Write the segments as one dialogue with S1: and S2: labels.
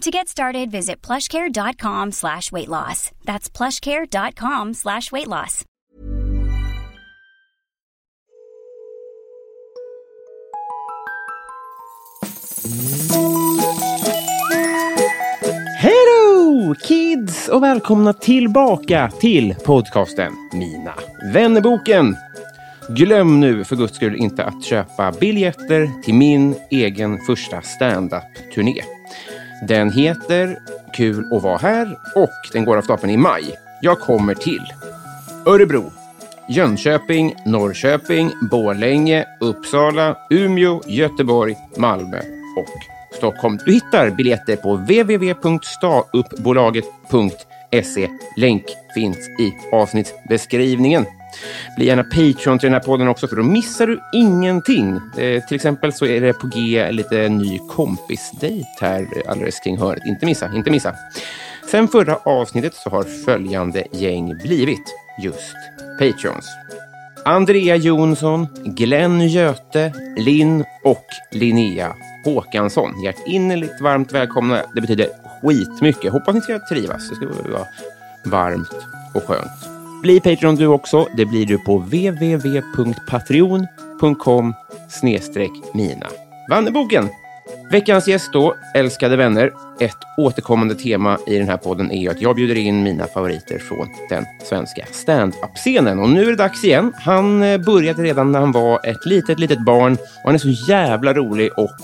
S1: To get started, visit plushcare.com slash weight loss. That's plushcare.com slash weight loss.
S2: Hello kids och välkomna tillbaka till podcasten Mina vännerboken. Glöm nu för guds skull inte att köpa biljetter till min egen första stand-up-turné. Den heter Kul att vara här och den går av stapeln i maj. Jag kommer till Örebro, Jönköping, Norrköping, Borlänge, Uppsala, Umeå, Göteborg, Malmö och Stockholm. Du hittar biljetter på www.stauppbolaget.se. Länk finns i avsnittsbeskrivningen. Bli gärna Patreon till den här podden också, för då missar du ingenting. Eh, till exempel så är det på G lite ny kompisdejt här eh, alldeles kring hörnet. Inte missa, inte missa. Sen förra avsnittet så har följande gäng blivit just Patreons. Andrea Jonsson, Glenn Göte, Linn och Linnea Håkansson. Hjärtinnerligt varmt välkomna. Det betyder skitmycket. Hoppas ni ska trivas. Det ska vara varmt och skönt. Bli Patreon du också. Det blir du på www.patreon.com snedstreck mina. Vannerboken! Veckans gäst då, älskade vänner. Ett återkommande tema i den här podden är ju att jag bjuder in mina favoriter från den svenska stand-up-scenen. Och nu är det dags igen. Han eh, började redan när han var ett litet, litet barn och han är så jävla rolig och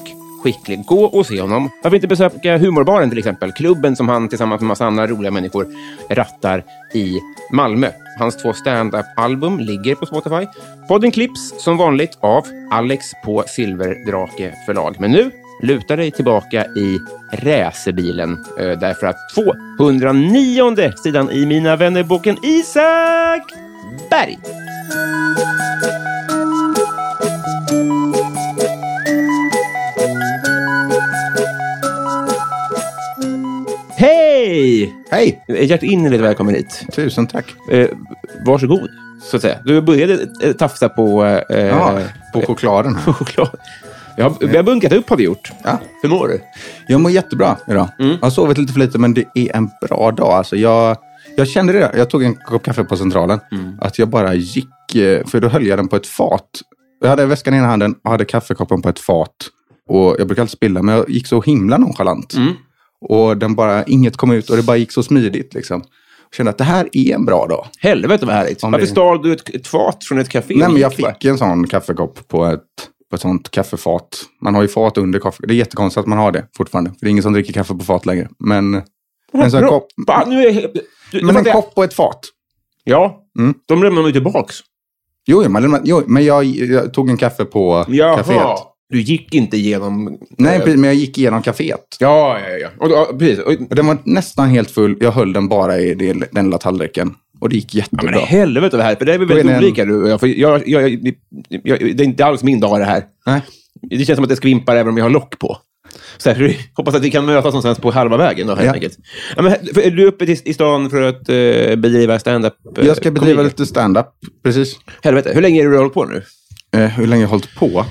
S2: skicklig. Gå och se honom. Varför inte besöka Humorbaren till exempel? Klubben som han tillsammans med massa andra roliga människor rattar i Malmö. Hans två stand-up-album ligger på Spotify. Podden klipps som vanligt av Alex på Silverdrake förlag. Men nu luta dig tillbaka i racerbilen eh, därför att 209 sidan i Mina vännerboken Isak Berg. Hej!
S3: Hej!
S2: Hjärtinnerligt välkommen hit.
S3: Tusen tack.
S2: Eh, varsågod, så att säga. Du började eh, tafsa på, eh,
S3: Ja, på chokladen.
S2: på choklad. Vi har, vi har bunkat upp har vi gjort.
S3: Ja.
S2: Hur mår du?
S3: Jag mår jättebra idag.
S2: Mm.
S3: Jag har sovit lite för lite, men det är en bra dag. Alltså, jag, jag kände det. Jag tog en kopp kaffe på Centralen.
S2: Mm.
S3: Att jag bara gick, eh, för då höll jag den på ett fat. Jag hade väskan i ena handen och hade kaffekoppen på ett fat. Och jag brukar alltid spilla, men jag gick så himla nonchalant.
S2: Mm.
S3: Och den bara, inget kom ut och det bara gick så smidigt. Liksom. Jag kände att det här är en bra dag.
S2: Helvete vad härligt.
S3: Om
S2: Varför
S3: det-
S2: stal du ett, ett fat från ett café?
S3: Nej, men jag
S2: och gick bara?
S3: fick en sån kaffekopp på ett, på ett sånt kaffefat. Man har ju fat under kaffe. Det är jättekonstigt att man har det fortfarande. För det är ingen som dricker kaffe på fat längre. Men en sån kopp.
S2: Ba, nu är jag- du- du,
S3: Men en
S2: fattar jag.
S3: kopp och ett fat.
S2: Ja,
S3: Mm.
S2: de lämnar mig tillbaks.
S3: Jo, jo, man lämnar- jo men jag, jag tog en kaffe på
S2: Jaha,
S3: kaféet.
S2: du gick inte igenom...
S3: Nej,
S2: eh,
S3: precis, men jag gick igenom kaféet.
S2: Ja, ja, ja. Och, då- ja precis. Och,
S3: Och den var nästan helt full. Jag höll den bara i det- den lilla tallriken. Och det gick
S2: Ja, men
S3: jättebra.
S2: helvete vad härligt. För det är vi
S3: Då är
S2: väldigt
S3: det en-
S2: olika. Du. och jag, för Jag, jag, jag, jag, det är inte alls min dag det här.
S3: Nej.
S2: Det känns som att det skvimpar även om jag har lock på. Så här, hoppas att vi kan mötas någonstans på halva vägen då, helt
S3: Ja.
S2: enkelt. Ja, men, för, är du uppe i, i stan för att eh, bedriva stand-up? eh,
S3: Jag ska bedriva
S2: komedi?
S3: lite stand-up. Precis.
S2: Helvete, hur länge har du hållit på nu?
S3: Eh, hur länge jag har hållit på?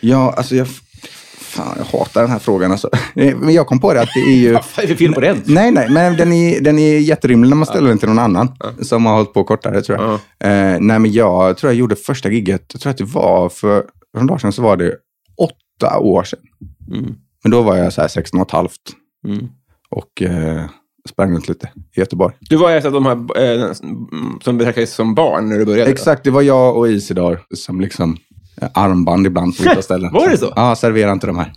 S3: Ja, alltså jag... f- Fan, jag hatar den här frågan alltså. Men jag kom på det att det är ju...
S2: Vad är det fel på den?
S3: Nej, nej, men den är, den är jätterimlig när man ställer den till någon annan som har hållit på kortare, tror jag. Eh, nej, men jag tror jag gjorde första gigget, jag tror att det var för några dagar sedan, så var det åtta år sedan.
S2: Mm.
S3: Men då var jag så här 16 och ett halvt
S2: Mm.
S3: och eh, sprang runt lite i Göteborg.
S2: Du var ett av de här eh, som betraktades som barn när du började? då?
S3: Exakt, det var jag och Isidor som liksom eh, armband ibland på vissa ställen.
S2: Var det så?
S3: Ja, servera inte de här.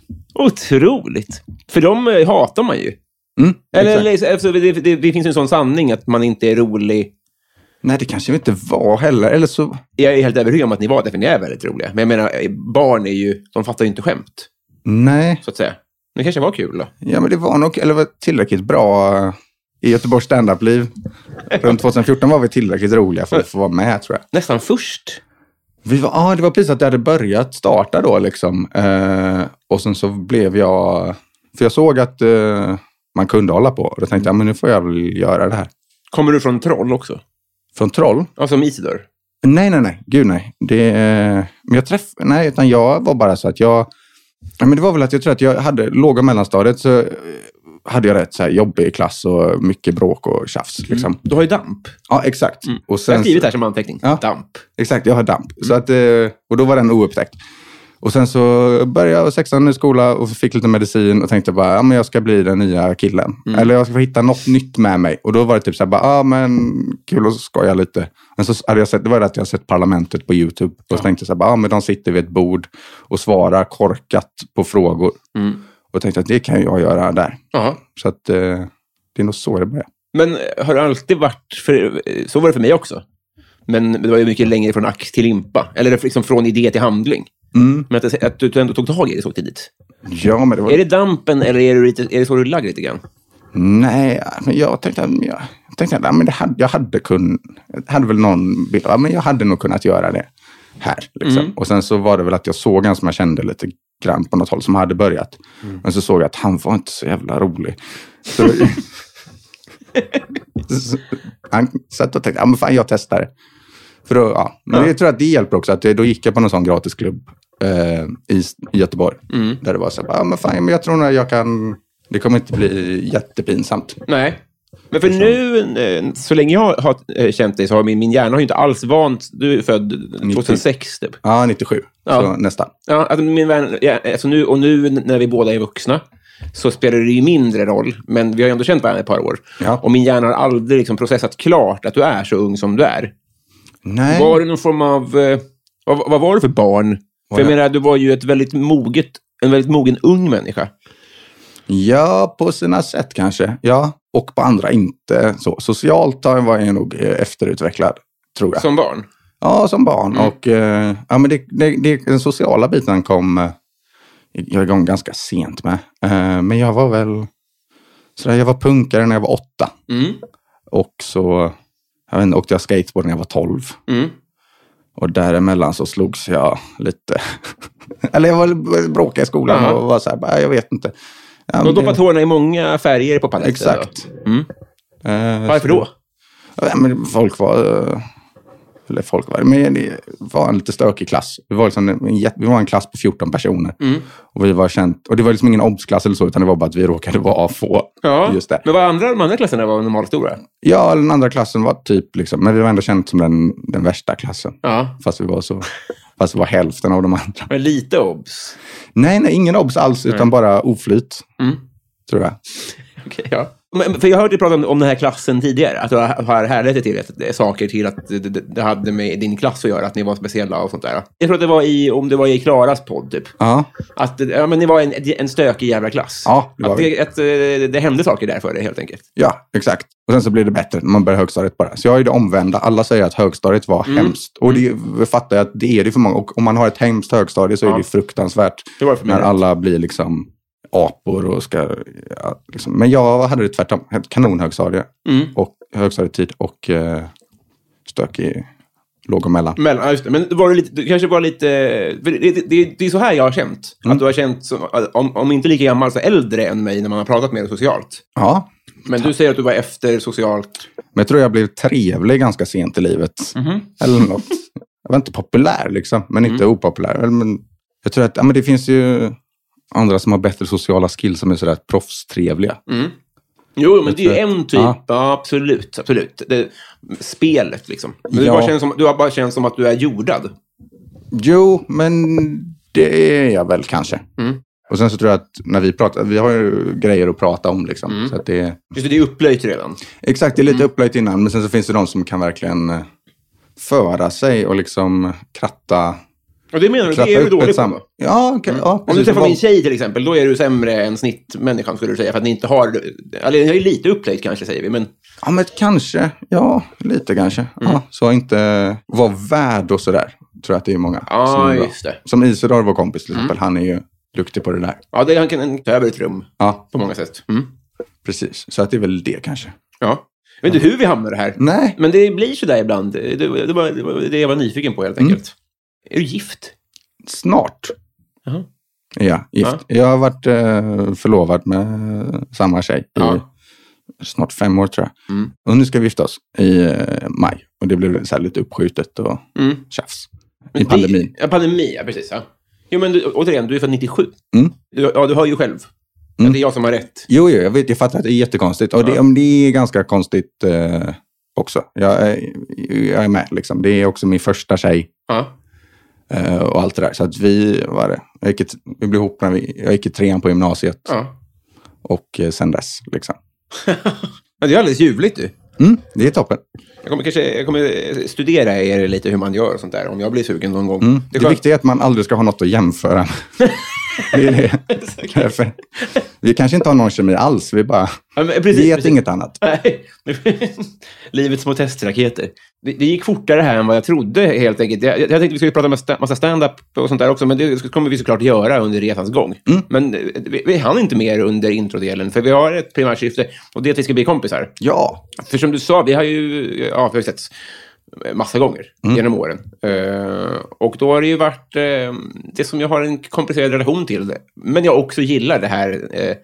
S2: Otroligt! För de eh, hatar man ju.
S3: Mm,
S2: Eller,
S3: exakt.
S2: eller alltså, det, det, det finns ju en sån sanning att man inte är rolig.
S3: Nej, det kanske vi inte var heller. Eller så...
S2: Jag är helt övertygad om att ni var det, för ni är väldigt roliga. Men jag menar, eh, barn är ju, de fattar ju inte skämt,
S3: Nej,
S2: så att säga. Det kanske var kul då.
S3: ja, men det var nog eller var tillräckligt bra eh, i Göteborgs standup-liv. Runt 2014 var vi tillräckligt roliga för att få vara med, tror jag.
S2: Nästan först.
S3: Vi var, ah, det var precis att det hade börjat starta då. Liksom. Eh, och sen så blev jag... För jag såg att eh, man kunde hålla på. Och då tänkte jag, men nu får jag väl göra det här.
S2: Kommer du från Troll också?
S3: Från Troll?
S2: Ja, som Isidor.
S3: Nej, nej, nej. Gud nej. Det, eh, men jag träff... Nej, utan jag var bara så att jag... Ja, men det var väl att jag tror att jag hade låga mellanstadiet så eh, hade jag rätt så här jobbig klass och mycket bråk och tjafs. Liksom.
S2: Du har ju damp.
S3: Ja, exakt. Och
S2: Mm. Jag har
S3: sen,
S2: skrivit det här som anteckning.
S3: Ja.
S2: Damp.
S3: Exakt, jag har damp. Så att, eh, och då var den oupptäckt. Och sen så började jag sexan i skola och fick lite medicin och tänkte bara, ja men jag ska bli den nya killen. Eller jag ska få hitta något nytt med mig. Och då var det typ så här, bara, ja men kul att skoja lite. Men så hade jag sett, det var det att jag hade sett Parlamentet på YouTube. Och så tänkte jag så här, bara, ja men de sitter vid ett bord och svarar korkat på frågor.
S2: Mm.
S3: Och tänkte att det kan jag göra där.
S2: Ja.
S3: Så att eh, det är nog så det började.
S2: Men eh, har det alltid varit, för, eh, så var det för mig också. Men det var ju mycket längre från ax till limpa. Eller liksom från idé till handling.
S3: Mm.
S2: Men att, att du ändå tog tag i det så tidigt.
S3: Ja, men det var...
S2: Är det dampen eller är, du lite, är det så du lagg lite grann?
S3: Nej, men jag tänkte att jag, jag tänkte att ja, men det hade, jag hade kunnat, jag hade väl någon bild, ja, men jag hade nog kunnat göra det här. Liksom. Och sen så var det väl att jag såg en som jag kände lite grann på något håll som hade börjat. Men så såg jag att han var inte så jävla rolig. Så, så, han satt och tänkte, ja men fan jag testar. det." För då, ja. Men jag tror att det hjälper också, att det, då gick jag på någon sån gratisklubb eh, i, i Göteborg.
S2: Mm.
S3: Där det var så här, ja men fan men jag tror nog jag kan, det kommer inte bli jättepinsamt.
S2: Nej. Men för nu, eh, så länge jag har eh, känt dig så har min, min hjärna har ju inte alls vant... Du är född 2006 typ.
S3: Ja, 97.
S2: Ja.
S3: Så nästan.
S2: Ja, alltså min vän, ja, alltså nu, och nu när vi båda är vuxna så spelar det ju mindre roll, men vi har ju ändå känt varandra ett par år.
S3: Ja.
S2: Och min hjärna har aldrig liksom processat klart att du är så ung som du är.
S3: Nej.
S2: Var du någon form av... eh, Vad, vad var du för barn? För jag
S3: jag-
S2: menar, du var ju ett väldigt moget, en väldigt mogen ung människa.
S3: Ja, på sina sätt kanske. Ja, och på andra inte. Så, socialt har jag- var jag nog eh, efterutvecklad, tror jag.
S2: Som barn.
S3: Ja, som barn.
S2: Mm.
S3: Och, eh, ja, men det, det, det, den sociala biten kom eh, jag igång ganska sent med. Eh, men jag var väl... Så där, jag var punkare när jag var åtta.
S2: Mm.
S3: Och så jag vet inte, åkte jag skateboard när jag var tolv.
S2: Mm.
S3: Och däremellan så slogs jag lite. Eller jag var bråkig i skolan
S2: Ja.
S3: och var så här, bara, jag vet inte.
S2: Du
S3: Ja, men
S2: har
S3: det-
S2: doppat tårna i många färger på paletten.
S3: Exakt.
S2: då. Mm.
S3: Eh,
S2: Varför
S3: så-
S2: då?
S3: Ja, men folk var... eh, Eller folk var... Men det var en lite stökig klass. Vi var, liksom en, jätte- vi var en klass på 14 personer.
S2: Mm.
S3: Och, vi var känt, och det var liksom ingen obsklass eller så, utan det var bara att vi råkade vara få.
S2: Ja.
S3: Just det.
S2: Men vad andra, de andra klasserna var normalstora?
S3: Ja, den andra klassen var typ liksom... Men vi var ändå känt som den, den värsta klassen.
S2: Ja.
S3: Fast vi var så... Fast vi var hälften av de andra.
S2: Men lite obs.
S3: Nej, nej, ingen obs alls, utan bara oflyt.
S2: Mm.
S3: Tror jag.
S2: Okej, ja. Men, för jag hörde dig prata om, om den här klassen tidigare. Att du har har härlett det till att, det är saker till att det, det, det hade med din klass att göra, att ni var speciella och sånt där. Jag tror att det var i, om det var i Klaras podd, typ.
S3: Ja,
S2: Att ja, men ni var en, en stökig jävla klass.
S3: Ja, det var
S2: att det, att, eh, det hände saker där för dig, helt enkelt.
S3: ja exakt. Och sen så blir det bättre när man börjar högstadiet bara. Så jag är det omvända. Alla säger att högstadiet
S2: Mm.
S3: var hemskt. Och det jag fattar jag att det är det för många. Och om man har ett hemskt högstadie så är det fruktansvärt.
S2: Det var det för mig
S3: när
S2: också.
S3: alla blir liksom apor och ska... Ja, liksom. Men jag hade det tvärtom. Ett kanonhögstadie.
S2: Mm.
S3: Och högstadietid och eh, stökig låg och mellan.
S2: Men, ja, just det. men var det lite, du kanske var lite... För det, det, det, det är så här jag har känt.
S3: Mm.
S2: Att du har känt, som, om, om inte lika gammal, så äldre än mig när man har pratat med dig socialt.
S3: Ja,
S2: Men du säger att du var efter socialt.
S3: Men jag tror jag blev trevlig ganska sent i livet.
S2: Mhm.
S3: Eller något.
S2: Mm.
S3: Jag var inte populär liksom, men inte opopulär. Eller, Men jag tror att ja, men det finns ju... andra som har bättre sociala skills som är sådär proffstrevliga.
S2: Mm. Jo, men det är ju en typ. Ja. absolut. absolut. Det, spelet, liksom. Men Du,
S3: Ja.
S2: bara känns som, du har bara känns som att du är jordad.
S3: Jo, men det är jag väl kanske.
S2: Mm.
S3: Och sen så tror jag att när vi pratar, vi har ju grejer att prata om liksom.
S2: Mm.
S3: Så att det,
S2: Just det, det är upplöjt redan.
S3: exakt, det är lite
S2: Mm.
S3: upplöjt innan, men sen så finns det de som kan verkligen eh, föra sig och liksom kratta,
S2: Och det menar du,
S3: kratta
S2: det är du
S3: upp ett
S2: dålig
S3: sam...
S2: på. Mm.
S3: Ja, kan, ja,
S2: Om du
S3: precis.
S2: träffar
S3: Vad-
S2: min tjej till exempel, då är du sämre än snittmänniskan skulle du säga. För att ni inte har... Eller jag är lite upplöjt kanske, säger vi. Men
S3: Ja, men kanske. Ja, lite kanske.
S2: Mm.
S3: Ja, så inte vara värd och sådär. Tror jag att det är många
S2: Ja,
S3: som är bra.
S2: just det. Mm.
S3: Som Isidor, vår kompis till exempel. Han är ju duktig på det där.
S2: ja, det, han kan ta över ett rum
S3: Ja,
S2: på många sätt. Mm.
S3: precis. Så att det är väl det kanske.
S2: Ja. Jag vet inte hur vi hamnar här.
S3: Nej,
S2: Men det blir så där ibland. Det, det, var, det var det jag var nyfiken på
S3: Mm.
S2: helt enkelt. Är du gift?
S3: snart.
S2: Jaha.
S3: är jag gift. Jag har varit eh, förlovad med samma tjej i
S2: Ja.
S3: snart fem år tror jag.
S2: Mm.
S3: Och nu ska vi gifta oss i eh, maj. Och det blev så här lite uppskjutet och
S2: Mm.
S3: tjafs.
S2: Men
S3: I
S2: det-
S3: pandemin.
S2: Ja, pandemi, ja precis. Ja. Jo, men du, återigen, du är född 97.
S3: Mm.
S2: Du, ja, du hör ju själv. Men
S3: Mm.
S2: Det är jag som har rätt.
S3: Jo, jo jag, vet, jag fattar att det är jättekonstigt. Och det,
S2: Ja.
S3: men det är ganska konstigt eh, också. Jag, är- jag är med. Liksom. Det är också min första tjej
S2: Ja.
S3: eh, och allt det där. Så att vi, vad är det? Jag gick, i t- vi blev ihop när vi, jag gick i trean på gymnasiet
S2: ja.
S3: och eh, sen dess. Liksom.
S2: Men det är alldeles ljuvligt du.
S3: Mm, det är toppen.
S2: Jag kommer, kanske, jag kommer studera er lite hur man gör och sånt där om jag blir sugen någon gång.
S3: Mm. Det,
S2: skönt.
S3: viktiga är att man aldrig ska ha något att jämföra med. det är det. Därför, vi kanske inte har någon kemi alls. Vi bara
S2: Ja, men precis,
S3: vet
S2: precis.
S3: inget annat.
S2: Nej. Livets små testraketer. Det, det gick fortare här än vad jag trodde helt enkelt. Jag, jag tänkte vi skulle prata om sta- massa stand-up och sånt där också, men det kommer vi såklart göra under resans gång. Men eh, vi, vi hann inte mer under introdelen, för vi har ett primärt syfte och det är att vi ska bli kompisar.
S3: Ja,
S2: För som du sa, vi har ju ja, vi har sett massa gånger
S3: Mm.
S2: genom åren. Eh, och då har det ju varit eh, det som jag har en komplicerad relation till. Det. Men jag också gillar det här eh,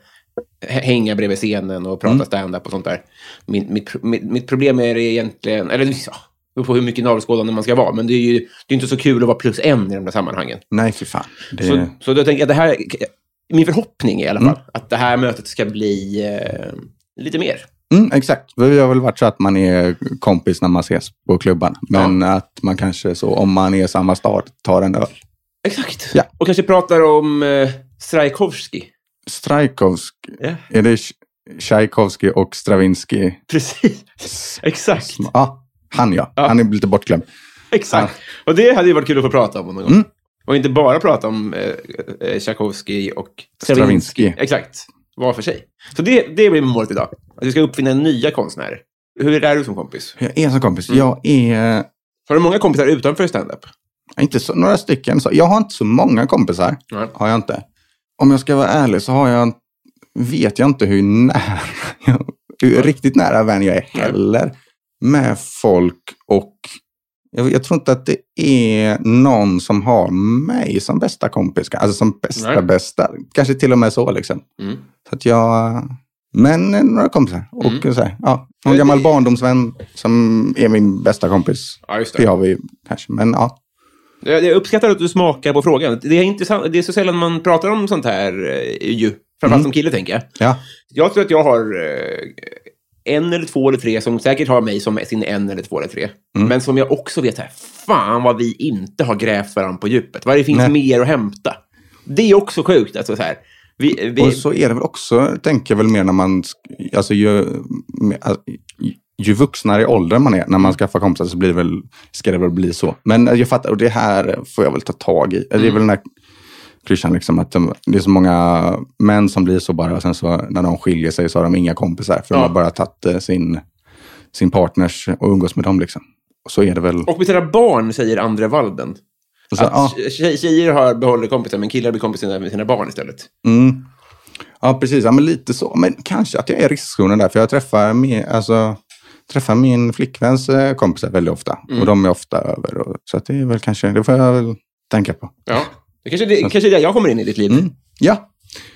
S2: hänga bredvid scenen och
S3: Mm.
S2: prata stand-up och sånt där. Min, mitt, pro- mitt, mitt problem är det egentligen, eller ja, det beror på hur mycket navelskådande man ska vara, men det är ju det är inte så kul att vara plus en i de där sammanhangen.
S3: nej fy fan. Det, Mm.
S2: Så, så då tänker jag att det här, min förhoppning är i alla fall att det här mötet ska bli eh, lite mer.
S3: Mm, exakt. Vi har väl varit så att man är kompis när man ses på klubban. Men att man kanske så, om man är i samma stad, tar en öl.
S2: Exakt.
S3: Ja.
S2: Och kanske pratar om eh, Strajkovski.
S3: Strajkovsk,
S2: Ja.
S3: är det Ch- Tchaikovsky och Stravinsky?
S2: Precis. Exakt.
S3: Ja, han ja.
S2: Ja.
S3: Han är lite bortglömd.
S2: Exakt. Och det hade ju varit kul att få prata om någon gång. Och inte bara prata om eh, eh, Tchaikovsky och
S3: Stravinsky.
S2: Exakt. Var för sig. Så det, det blir målet idag. Att vi ska uppfinna nya konstnärer. Hur är du som kompis?
S3: Jag är som kompis. Jag är eh,
S2: Har du många kompisar utanför standup?
S3: inte så, några stycken. Så. Jag har inte så många kompisar.
S2: Nej.
S3: Har jag inte. Om jag ska vara ärlig så har jag, vet jag inte hur nära, hur riktigt nära vän jag är heller med folk. Och jag, jag tror inte att det är någon som har mig som bästa kompis. Alltså som bästa
S2: Nej.
S3: bästa. Kanske till och med så liksom.
S2: Mm.
S3: Så att jag... Men eh, några kompisar. Och så här, ja, någon
S2: Mm. Det-
S3: gammal barndomsvän som är min bästa kompis.
S2: Ja, just
S3: Det
S2: det.
S3: har vi kanske, men ja.
S2: Jag, jag uppskattar att du smakar på frågan. Det är, intressant. det är så sällan man pratar om sånt här eh, ju. Framförallt som kille, tänker jag.
S3: ja.
S2: Jag tror att jag har eh, en eller två eller tre som säkert har mig som sin en eller två eller tre.
S3: Mm.
S2: Men som jag också vet här, fan vad vi inte har grävt varandra på djupet. Vad det finns
S3: Nej.
S2: mer att hämta. Det är också sjukt. Alltså, så här. Vi, vi,
S3: Och så är det väl också, tänker jag väl mer när man, sk- alltså ju, me- alltså, ju- ju vuxnare i åldern man är, när man skaffar kompisar så blir det väl, ska det väl bli så. Men eh, jag fattar, och det här får jag väl ta tag i. Det är
S2: Mm.
S3: väl den här klyschan liksom att de, det är så många män som blir så bara, och sen så när de skiljer sig så har de inga kompisar, för
S2: Ja.
S3: de har bara tagit eh, sin, sin partners och umgås med dem liksom. Och så är det väl.
S2: och med sina barn, säger Andre Walden.
S3: Och så, ja,
S2: Att tje- tjejer har behåller kompisar, men killar blir kompisar med sina barn istället.
S3: mm. ja, precis. Ja, men lite så. Men kanske att jag är i riskzonen där, för jag träffar, med, alltså, träffar min flickväns eh, kompisar väldigt ofta. Och de är ofta över. Och, så att det är väl kanske, det får jag väl tänka på.
S2: Ja. Det kanske, det, kanske är där jag kommer in i ditt liv.
S3: Mm. Ja,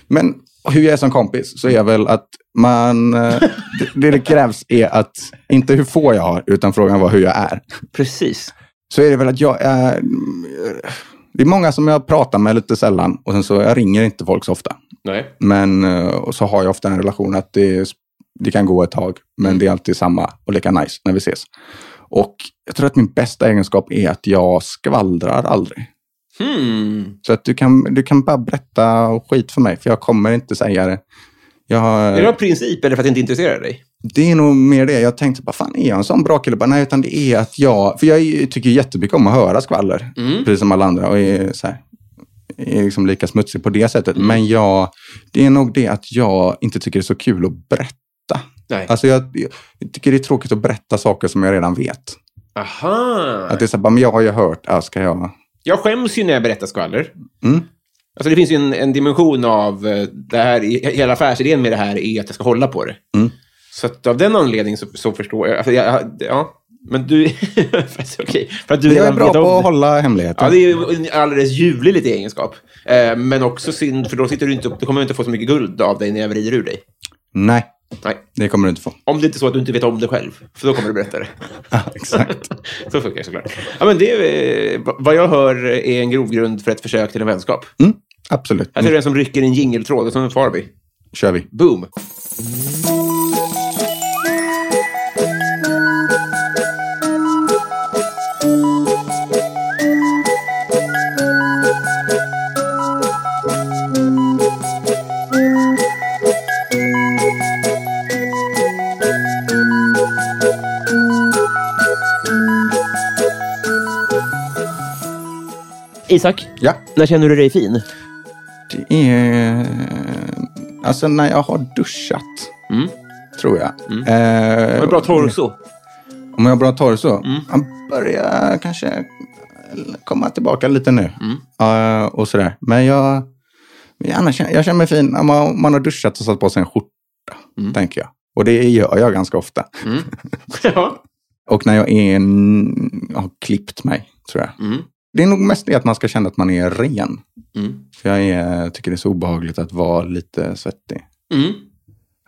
S3: men hur jag är som kompis så är väl att man... eh, det- Det det krävs är att, inte hur få jag har, utan frågan var hur jag är.
S2: Precis.
S3: Så är det väl att jag är... Det är många som jag pratar med lite sällan och sen så jag ringer inte folk så ofta.
S2: Nej.
S3: Men eh, och så har jag ofta en relation att det, det kan gå ett tag,
S2: Mm.
S3: men det är alltid samma och lika nice när vi ses. Och jag tror att min bästa egenskap är att jag skvallrar aldrig.
S2: Hmm.
S3: Så att du kan, du kan bara berätta skit för mig, för jag kommer inte säga det. Jag,
S2: Är det av princip eller för att det inte intresserar dig?
S3: det är nog mer det. Jag tänkte, vad fan är jag en sån bra kille? Bara, nej, utan det är att jag... För jag är- tycker jättemycket om att höra skvaller,
S2: Mm.
S3: precis som alla andra. Och är, så här, är liksom lika smutsig på det sättet.
S2: Mm.
S3: Men jag, det är nog det att jag inte tycker det är så kul att berätta.
S2: Nej.
S3: Alltså jag, jag tycker det är tråkigt att berätta saker som jag redan vet.
S2: Aha.
S3: Att det är så här, bara, men jag har ju hört, ja, ska jag...
S2: Jag skäms ju när jag berättar skvaller.
S3: Mm.
S2: Alltså det finns ju en, en dimension av eh, det här, i- hela affärsidén med det här är att jag ska hålla på det.
S3: Mm.
S2: Så att av den anledningen så, så förstår jag. Alltså jag ja, men du... för, att, okej, för att du
S3: Jag är
S2: redan
S3: bra
S2: vet om
S3: på att
S2: det.
S3: hålla hemligheter.
S2: Ja, det är ju en alldeles ljuvlig liten egenskap. Eh, men också synd, för då sitter du inte upp, du kommer inte få så mycket guld av dig när jag vrider ur dig.
S3: Nej,
S2: Nej.
S3: det kommer du inte få.
S2: Om det inte är så att du inte vet om det själv, för då kommer du berätta det.
S3: Ja, exakt.
S2: så funkar det såklart. Ja, men det, är, eh, vad jag hör är en grogrund för ett försök till en vänskap.
S3: Mm, absolut.
S2: Här ser du en som rycker i en jingeltråd, och som en Farby.
S3: kör vi.
S2: Boom! Isak,
S3: Ja.
S2: när känner du dig fin?
S3: Det är... Alltså när jag har duschat, tror jag. Eh,
S2: Har du bra torso?
S3: Om jag har bra torso? Han börjar kanske komma tillbaka lite nu. Eh, och sådär. Men jag, men annars, känner- jag känner mig fin om man, om man har duschat och satt på sig en skjorta, tänker jag. Och det gör jag ganska ofta.
S2: Ja.
S3: Och när jag är en, har klippt mig, tror jag.
S2: Mm.
S3: Det är nog mest det att man ska känna att man är ren.
S2: Mm.
S3: För jag är, tycker det är så obehagligt att vara lite svettig.
S2: Mm.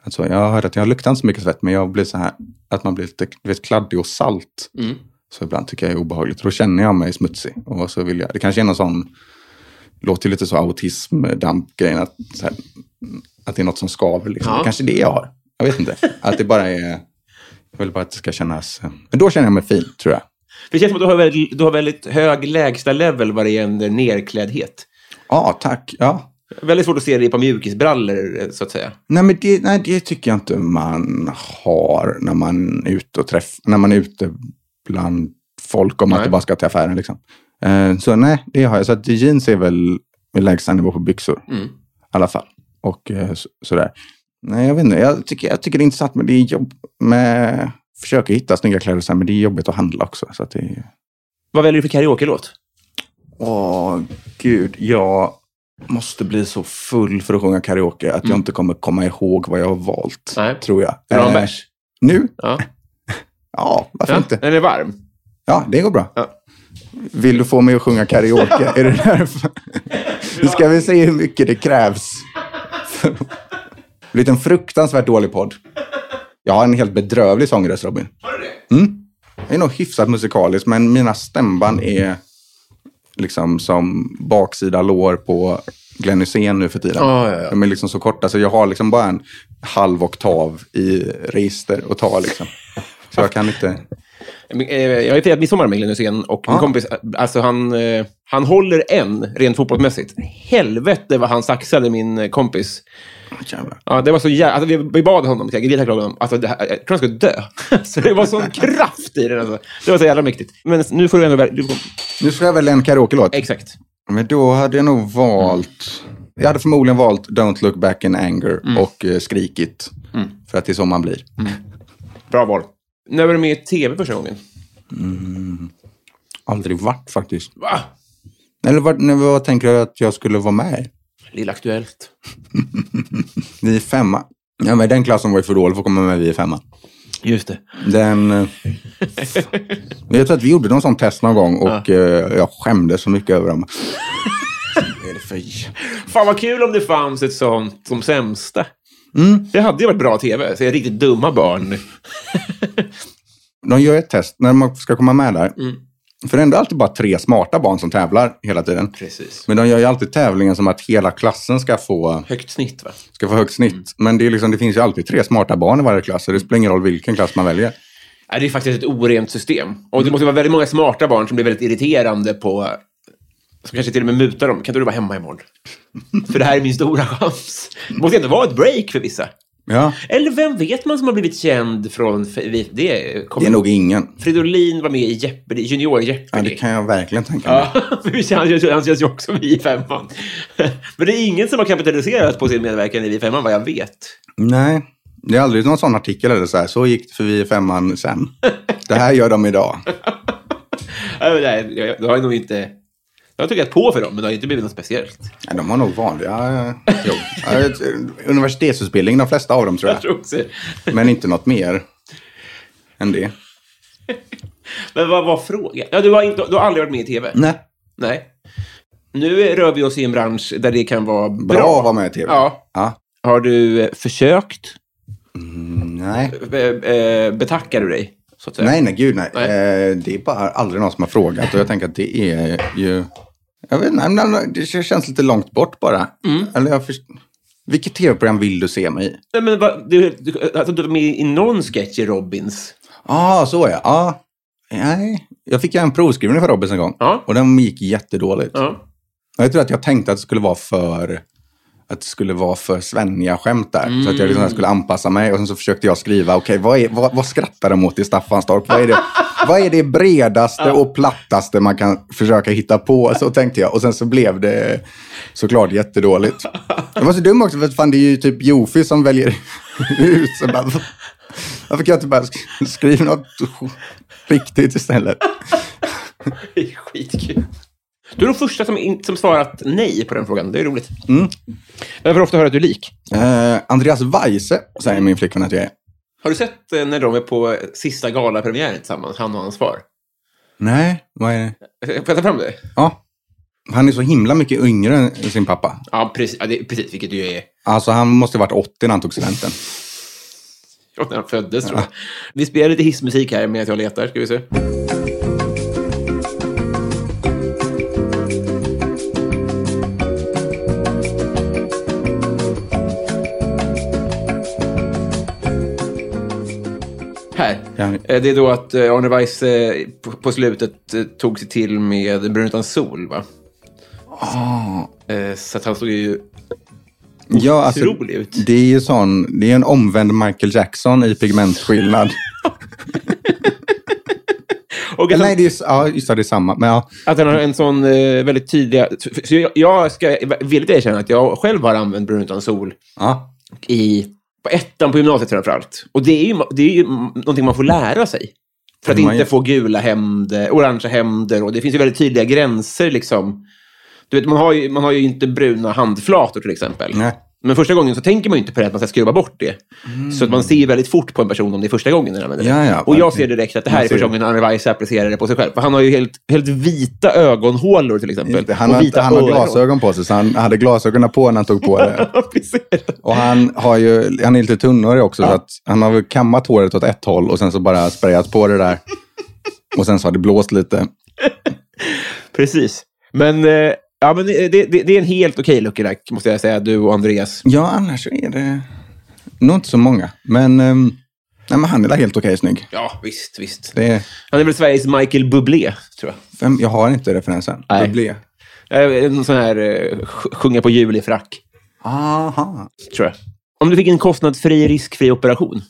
S3: Alltså, jag har hört att jag luktar inte så mycket svett, men jag blir så här, att man blir lite du vet, kladdig och salt.
S2: Mm.
S3: Så ibland tycker jag det är obehagligt. Då känner jag mig smutsig. Och så vill jag, det kanske är någon sån, låter ju lite så autism, dampgrejen, att, så här, att det är något som skaver. Liksom.
S2: Ja.
S3: Det kanske är det jag har. Jag vet inte. Att det bara är, jag vill bara att det ska kännas. Men då känner jag mig fin, tror jag.
S2: Det känns som att du har väldigt, du har väldigt hög lägsta level vad det gäller nerkläddhet.
S3: Ja, tack. Ja.
S2: Väldigt svårt att se dig på mjukisbrallor, eh, så att säga.
S3: Nej, men det, nej, det tycker jag inte man har när man är ute, och träff, när man är ute bland folk om att
S2: Nej.
S3: du bara ska till affären. Liksom. Eh, så nej, det har jag. Så att jeans är väl lägsta nivå på byxor.
S2: Mm.
S3: i alla fall. Och eh, så, sådär. Nej, jag vet inte. Jag tycker, jag tycker det är intressant, men det är jobb med... Försöker hitta snygga kläder, och så här, men det är jobbigt att handla också. Så att det är...
S2: Vad väljer du för karaoke-låt?
S3: Åh, gud. Jag måste bli så full för att sjunga karaoke att jag inte kommer komma ihåg vad jag har valt,
S2: Mm. Nej.
S3: tror jag.
S2: Vill du ha en
S3: Eh,
S2: bärs?
S3: Nu?
S2: Ja.
S3: Ja, varför
S2: ja.
S3: inte?
S2: Den är varm.
S3: Ja, det går bra.
S2: Ja.
S3: Vill du få mig att sjunga karaoke? är det därför? Nu ska vi se hur mycket det krävs. Blivit en fruktansvärt dålig podd. Jag har en helt bedrövlig sångröst, Robin. Har du det? Mm. Jag är nog hyfsat musikalisk, men mina stämband är liksom som baksida lår på Glenn Hysén nu för tiden.
S2: Ja, ja, ja.
S3: De är liksom så korta, så jag har liksom bara en halv oktav i register att ta liksom. Så jag kan inte...
S2: Men, eh, Jag har ju firat midsommar med Glenn Hysén och min
S3: Ja.
S2: kompis, eh, alltså han, eh, han håller en rent fotbollsmässigt. Helvete vad han saxade min eh, kompis.
S3: Jävlar.
S2: Ja, det var så jävla... Alltså, vi, vi bad honom, jag grät till honom. Alltså, det här, jag tror han skulle dö. så det var sån kraft i den. Alltså. Det var så jävla mäktigt. Men nu får du ändå... väl- Du får,
S3: Nu ska jag välja en karaoke-låt.
S2: exakt.
S3: Men då hade jag nog valt... Jag hade förmodligen valt Don't look back in anger och eh, skrikit. För att det är så man blir.
S2: Bra val. När var du med i tv första gången?
S3: Aldrig varit faktiskt.
S2: Va?
S3: Eller vad, nej, vad tänker du att jag skulle vara med i?
S2: Lilla Aktuellt.
S3: Vi är femma. Ja, men den klassen var ju för dålig för att komma med vi är femma.
S2: Just det.
S3: Den... eh, Men jag tror att vi gjorde någon sån test någon gång och eh, jag skämdes så mycket över dem. Vad är det för jä-
S2: Fan vad kul om det fanns ett sånt som sämsta.
S3: Mm.
S2: Det hade ju varit bra tv. Så jag är riktigt dumma barn.
S3: De gör ett test när man ska komma med där. För det är ändå alltid bara tre smarta barn som tävlar hela tiden.
S2: Precis.
S3: Men de gör ju alltid tävlingen som att hela klassen ska få,
S2: Högt snitt va?
S3: ska få högt
S2: Mm.
S3: snitt. Men det, är liksom, det finns ju alltid tre smarta barn i varje klass, så det spelar ingen roll vilken klass man väljer.
S2: Ja, det är faktiskt ett orent system. Och det måste vara väldigt många smarta barn som blir väldigt irriterande på... Som kanske till och med mutar dem. Kan inte du vara hemma imorgon? för det här är min stora chans. Det måste ändå vara ett break för vissa.
S3: Ja,
S2: Eller vem vet man som har blivit känd från... Det, kom,
S3: det är nog ingen.
S2: Fridolin var med i Jeopardy, Junior Jeopardy.
S3: Ja, det kan jag verkligen tänka mig.
S2: Ja, vi känns ju- han känns ju också med i femman. Men det är ingen som har kapitaliserat på sin medverkan i vi femman vad jag vet.
S3: Nej, det är aldrig någon sån artikel eller så här. Så gick det för vi i femman sen. Det här gör de idag.
S2: Äh, Nej, jag, jag har nog inte... Jag har tuggat på för dem, men det har inte blivit något speciellt.
S3: Nej, de har nog vanliga eh, jobb. Ja, ett, eh, Universitetsutbildning, de flesta av dem tror
S2: Jag
S3: jag.
S2: tror också.
S3: Men inte något mer än det.
S2: Men vad var frågan? Ja, du, har inte, du har aldrig varit med i tv?
S3: Nej,
S2: Nej. Nu rör vi oss i en bransch där det kan vara bra.
S3: bra, att vara med i tv.
S2: Ja.
S3: Ja.
S2: Har du eh, försökt?
S3: Nej.
S2: Eh, eh, Betackar du dig? Så att säga?
S3: nej, nej, gud nej.
S2: Nej.
S3: Eh, det är bara aldrig någon som har frågat och jag tänker att det är ju... Jag vet inte, nej, nej, det känns lite långt bort bara.
S2: Mm.
S3: Eller jag först... Vilket tv-program vill du se mig i?
S2: Nej, men vad, du, du, alltså, du var med i någon sketch i Robins.
S3: Ja, ah, så ja. Ah. Nej. Jag fick ju en provskrivning för Robins en gång.
S2: Ja.
S3: Och den gick jättedåligt.
S2: Ja.
S3: Jag tror att jag tänkte att det skulle vara för att det skulle vara för svenniga skämt där. Så att jag liksom skulle anpassa mig. Och sen så försökte jag skriva, okej, vad, är- vad, vad skrattar de åt i Staffanstorp? Vad är det, vad är det bredaste och plattaste man kan försöka hitta på? Så tänkte jag. Och sen så blev det såklart jättedåligt. Det var så dumt också, för att fan, det är ju typ Jofi som väljer ut. Så bara, varför kan jag inte bara sk- skriva något riktigt istället?
S2: Det är skitkul. Du är den första som, in, som svarat nej på den frågan. Det är roligt. Jag får ofta höra att du är lik.
S3: Eh, Andreas Weise säger min flickvän att jag är.
S2: Har du sett eh, när de är på eh, sista galapremiären tillsammans, han och hans far?
S3: Nej, vad är det?
S2: Får jag ta fram det?
S3: Ja. Han är så himla mycket yngre än sin pappa.
S2: Ja, precis, ja, det, precis vilket ju är
S3: Alltså han måste ha varit 80 när han tog studenten.
S2: ja, när han föddes, tror jag. Vi spelar lite hissmusik här medan jag letar. Ska vi se. Här.
S3: Ja.
S2: Eh, Det är då att eh, Arne Weiss eh, på- på slutet eh, tog sig till med Brun utan sol, va? Eh, Så att han såg ju...
S3: Ja, alltså,
S2: Otrolig ut.
S3: det är ju sån, det är en omvänd Michael Jackson i pigmentskillnad.
S2: Och
S3: Eller nej, det är, ju- ja, just det, det är samma. Men ja,
S2: Att den har en sån eh, väldigt tydlig... Så jag, jag ska villigt erkänna att jag själv har använt brun utan sol
S3: ja.
S2: i på ettan på gymnasiet framför allt. Och det är ju, det är ju någonting man får lära sig. För att
S3: Men Mm, man-
S2: inte få gula hämnder, orangea hämnder och det finns ju väldigt tydliga gränser liksom. Du vet, man har ju, man har ju inte bruna handflator till exempel.
S3: Nej. Mm.
S2: Men första gången så tänker man ju inte på det, att man ska skruva bort det. Så att man ser ju väldigt fort på en person om det är första gången den använder det.
S3: Ja, ja,
S2: och jag ser
S3: verkligen.
S2: direkt att det här
S3: Man
S2: är
S3: ser
S2: första
S3: det.
S2: gången Arne Weiss applicerar det på sig själv. För han har ju helt, helt vita ögonhålor till exempel.
S3: Han
S2: och
S3: har, inte-
S2: vita
S3: han har
S2: öron.
S3: glasögon på sig, så han hade glasögonen på när han tog på det.
S2: Precis.
S3: Och han, har ju, han är lite tunnare också, så att han har väl kammat håret åt ett håll och sen så bara sprayat på det där. Och sen så har det blåst lite.
S2: Precis. Men, eh, ja, men det, det, det är en helt okej look-alike, måste jag säga, du och Andreas.
S3: Ja, annars så är det nog inte så många. Men, ehm, nej, men han är där helt okej snygg.
S2: Ja, visst, visst.
S3: Det är,
S2: Han är väl Sveriges Michael Bublé, tror jag.
S3: vem, jag har inte referensen.
S2: Nej.
S3: Bublé.
S2: Eh, En sån här eh, sj- sjunga på jul i frack,
S3: Aha.
S2: tror jag. Om du fick en kostnadsfri, riskfri operation,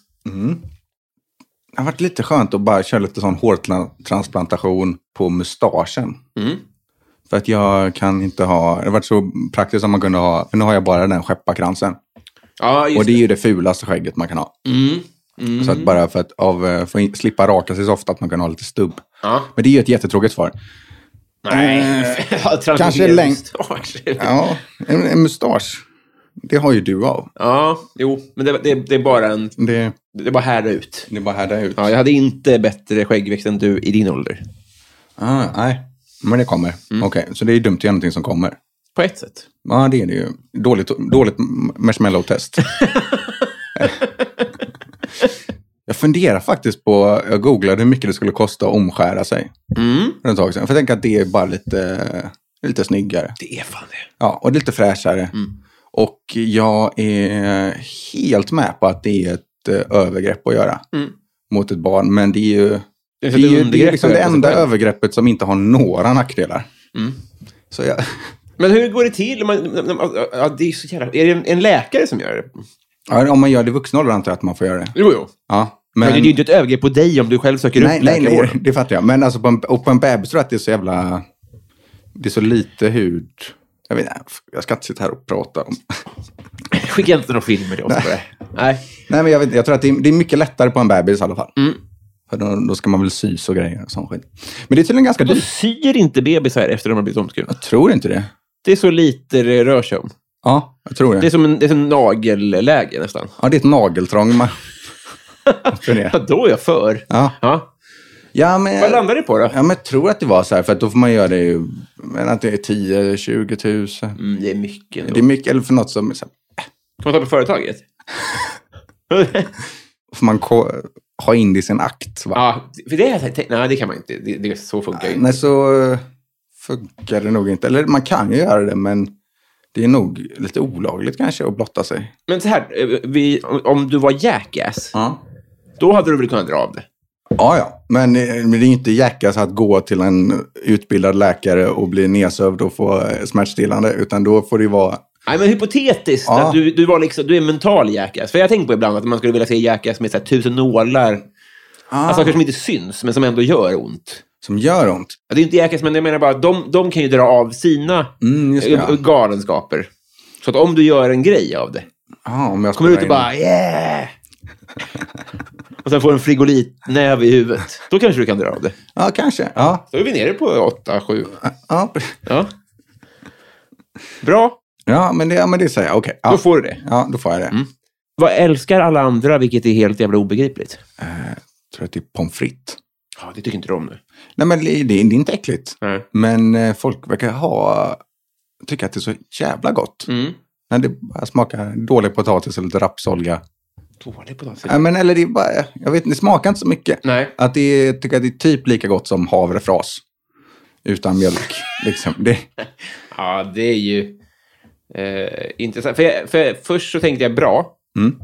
S3: Det har varit lite skönt att bara köra lite sån hårtransplantation på mustaschen.
S2: Mm.
S3: För att jag kan inte ha, det har varit så praktiskt som man kunde ha, för nu har jag bara den skepparkransen.
S2: Ja, just
S3: Och det är ju det fulaste skägget man kan ha.
S2: Mm.
S3: Så att bara för att av, eh, få in, slippa raka sig så ofta att man kan ha lite stubb.
S2: Ja.
S3: Men det är ju ett jättetråkigt svar.
S2: Nej.
S3: kanske längst-
S2: Ja.
S3: Ja, en, en mustasch. Det har ju du av.
S2: ja, jo, men det, det, det är bara en...
S3: Det,
S2: Det är bara här och ut.
S3: det är bara härda ut.
S2: Ja, jag hade inte bättre skäggväxt än du i din ålder.
S3: Ah, nej, men det kommer.
S2: Mm.
S3: Okej, så det är dumt att göra någonting som kommer.
S2: På ett sätt.
S3: Ja, det är det ju. Dåligt, dåligt marshmallow-test. Jag funderar faktiskt på, jag googlade hur mycket det skulle kosta att omskära sig.
S2: Mm.
S3: För ett tag sedan. För jag tänker att det är bara lite, lite snyggare.
S2: Det är fan det.
S3: Ja, och lite fräschare.
S2: Mm.
S3: Och jag är helt med på att det är ett eh, övergrepp att göra
S2: Mm.
S3: mot ett barn. Men det är ju
S2: Det
S3: det, är ju, det, är liksom det enda övergreppet som inte har några nackdelar.
S2: Mm.
S3: Så jag,
S2: Men hur går det till? om Man, när man, ja, det är, så jävla, är det en, en läkare som gör det?
S3: ja, om man gör det i vuxen ålder antar jag att man får göra det.
S2: Jo, jo.
S3: Ja,
S2: Men, det är ju inte ett övergrepp på dig om du själv söker
S3: nej,
S2: upp
S3: nej,
S2: läkarvård.
S3: nej, det fattar jag. Men alltså på en, och på en bebis tror jag att det är så jävla... Det är så lite hud. Jag, vet, inte, jag ska inte sitta här och prata om...
S2: Skicka inte några filmer till oss på det. Nej.
S3: Nej, men jag, vet, jag tror att det är, det är mycket lättare på en bebis i alla fall.
S2: Mm.
S3: För då, då ska man väl sys och grejer och sån skit. Men det är tydligen ganska
S2: De
S3: dyrt.
S2: syr inte bebisar efter de har blivit omskurna.
S3: Jag tror inte det.
S2: Det är så lite det rör sig om.
S3: Ja, jag tror det.
S2: Det är som en, det är som en nagelläge nästan.
S3: Ja, det är ett nageltrång. Man... för det.
S2: Ja, då är jag för.
S3: Ja.
S2: Ja.
S3: Ja, men...
S2: Vad landar det på då?
S3: Ja, men jag tror att det var så här, för att då får man göra det ju, men att det är 10 20 tusen.
S2: Mm, det är mycket.
S3: Det är mycket, eller för något som, så här,
S2: Kan man ta på företaget?
S3: får man ko- ha in det i sin akt. Va?
S2: ja, för det är, jag- nej, det kan man inte. Det, det, så funkar ju inte.
S3: Nej, så eh, funkar det nog inte. Eller man kan ju göra det, men det är nog lite olagligt kanske att blotta sig.
S2: Men så här, eh, vi, om- om du var jackass,
S3: Ja.
S2: då hade du väl kunnat dra av det?
S3: Ja, ja. Men, eh, men det är ju inte jäklas att gå till en utbildad läkare och bli nedsövd och få eh, smärtstillande, utan då får det ju vara...
S2: Nej, men hypotetiskt.
S3: Ja.
S2: Att du, du, var liksom, du är mental jackass. För jag tänker på ibland att man skulle vilja se jackass med så här, tusen nålar.
S3: Ah.
S2: Alltså, saker som inte syns, men som ändå gör ont.
S3: Som gör ont.
S2: Ja, Det är inte jackass, men jag menar bara att de, de kan ju dra av sina
S3: Mm, just det,
S2: eh,
S3: ja.
S2: galenskaper. Så att om du gör en grej av det,
S3: Ja, om jag
S2: kommer du ut
S3: spelar
S2: och
S3: in-
S2: bara yeah! och sen får en frigolitnäve i huvudet. Då kanske du kan dra av det.
S3: Ja, kanske. Ja,
S2: Då är vi nere på 8, 7.
S3: ja.
S2: Ja. Bra,
S3: ja, men det, ja, men det säger jag. Okej.
S2: då
S3: Ja.
S2: får du det. Mm.
S3: ja, då får jag det.
S2: Vad älskar alla andra, vilket är helt jävla obegripligt?
S3: Jag tror att det är pommes frites.
S2: Ja, det tycker inte de nu.
S3: Nej, men det, det är inte äckligt.
S2: Nej.
S3: Men eh, folk verkar ha... Tycker att det är så jävla gott.
S2: Mm.
S3: När det bara smakar dålig potatis eller lite rapsolja.
S2: Dålig potatis.
S3: Nej, men eller det är bara... Jag vet, det smakar inte så mycket.
S2: Nej.
S3: Att det är, tycker att det är typ lika gott som havrefras. Utan mjölk. liksom. Det,
S2: Ja, det är ju eh, intressant. För, jag, för jag, först så tänkte jag bra.
S3: Mm.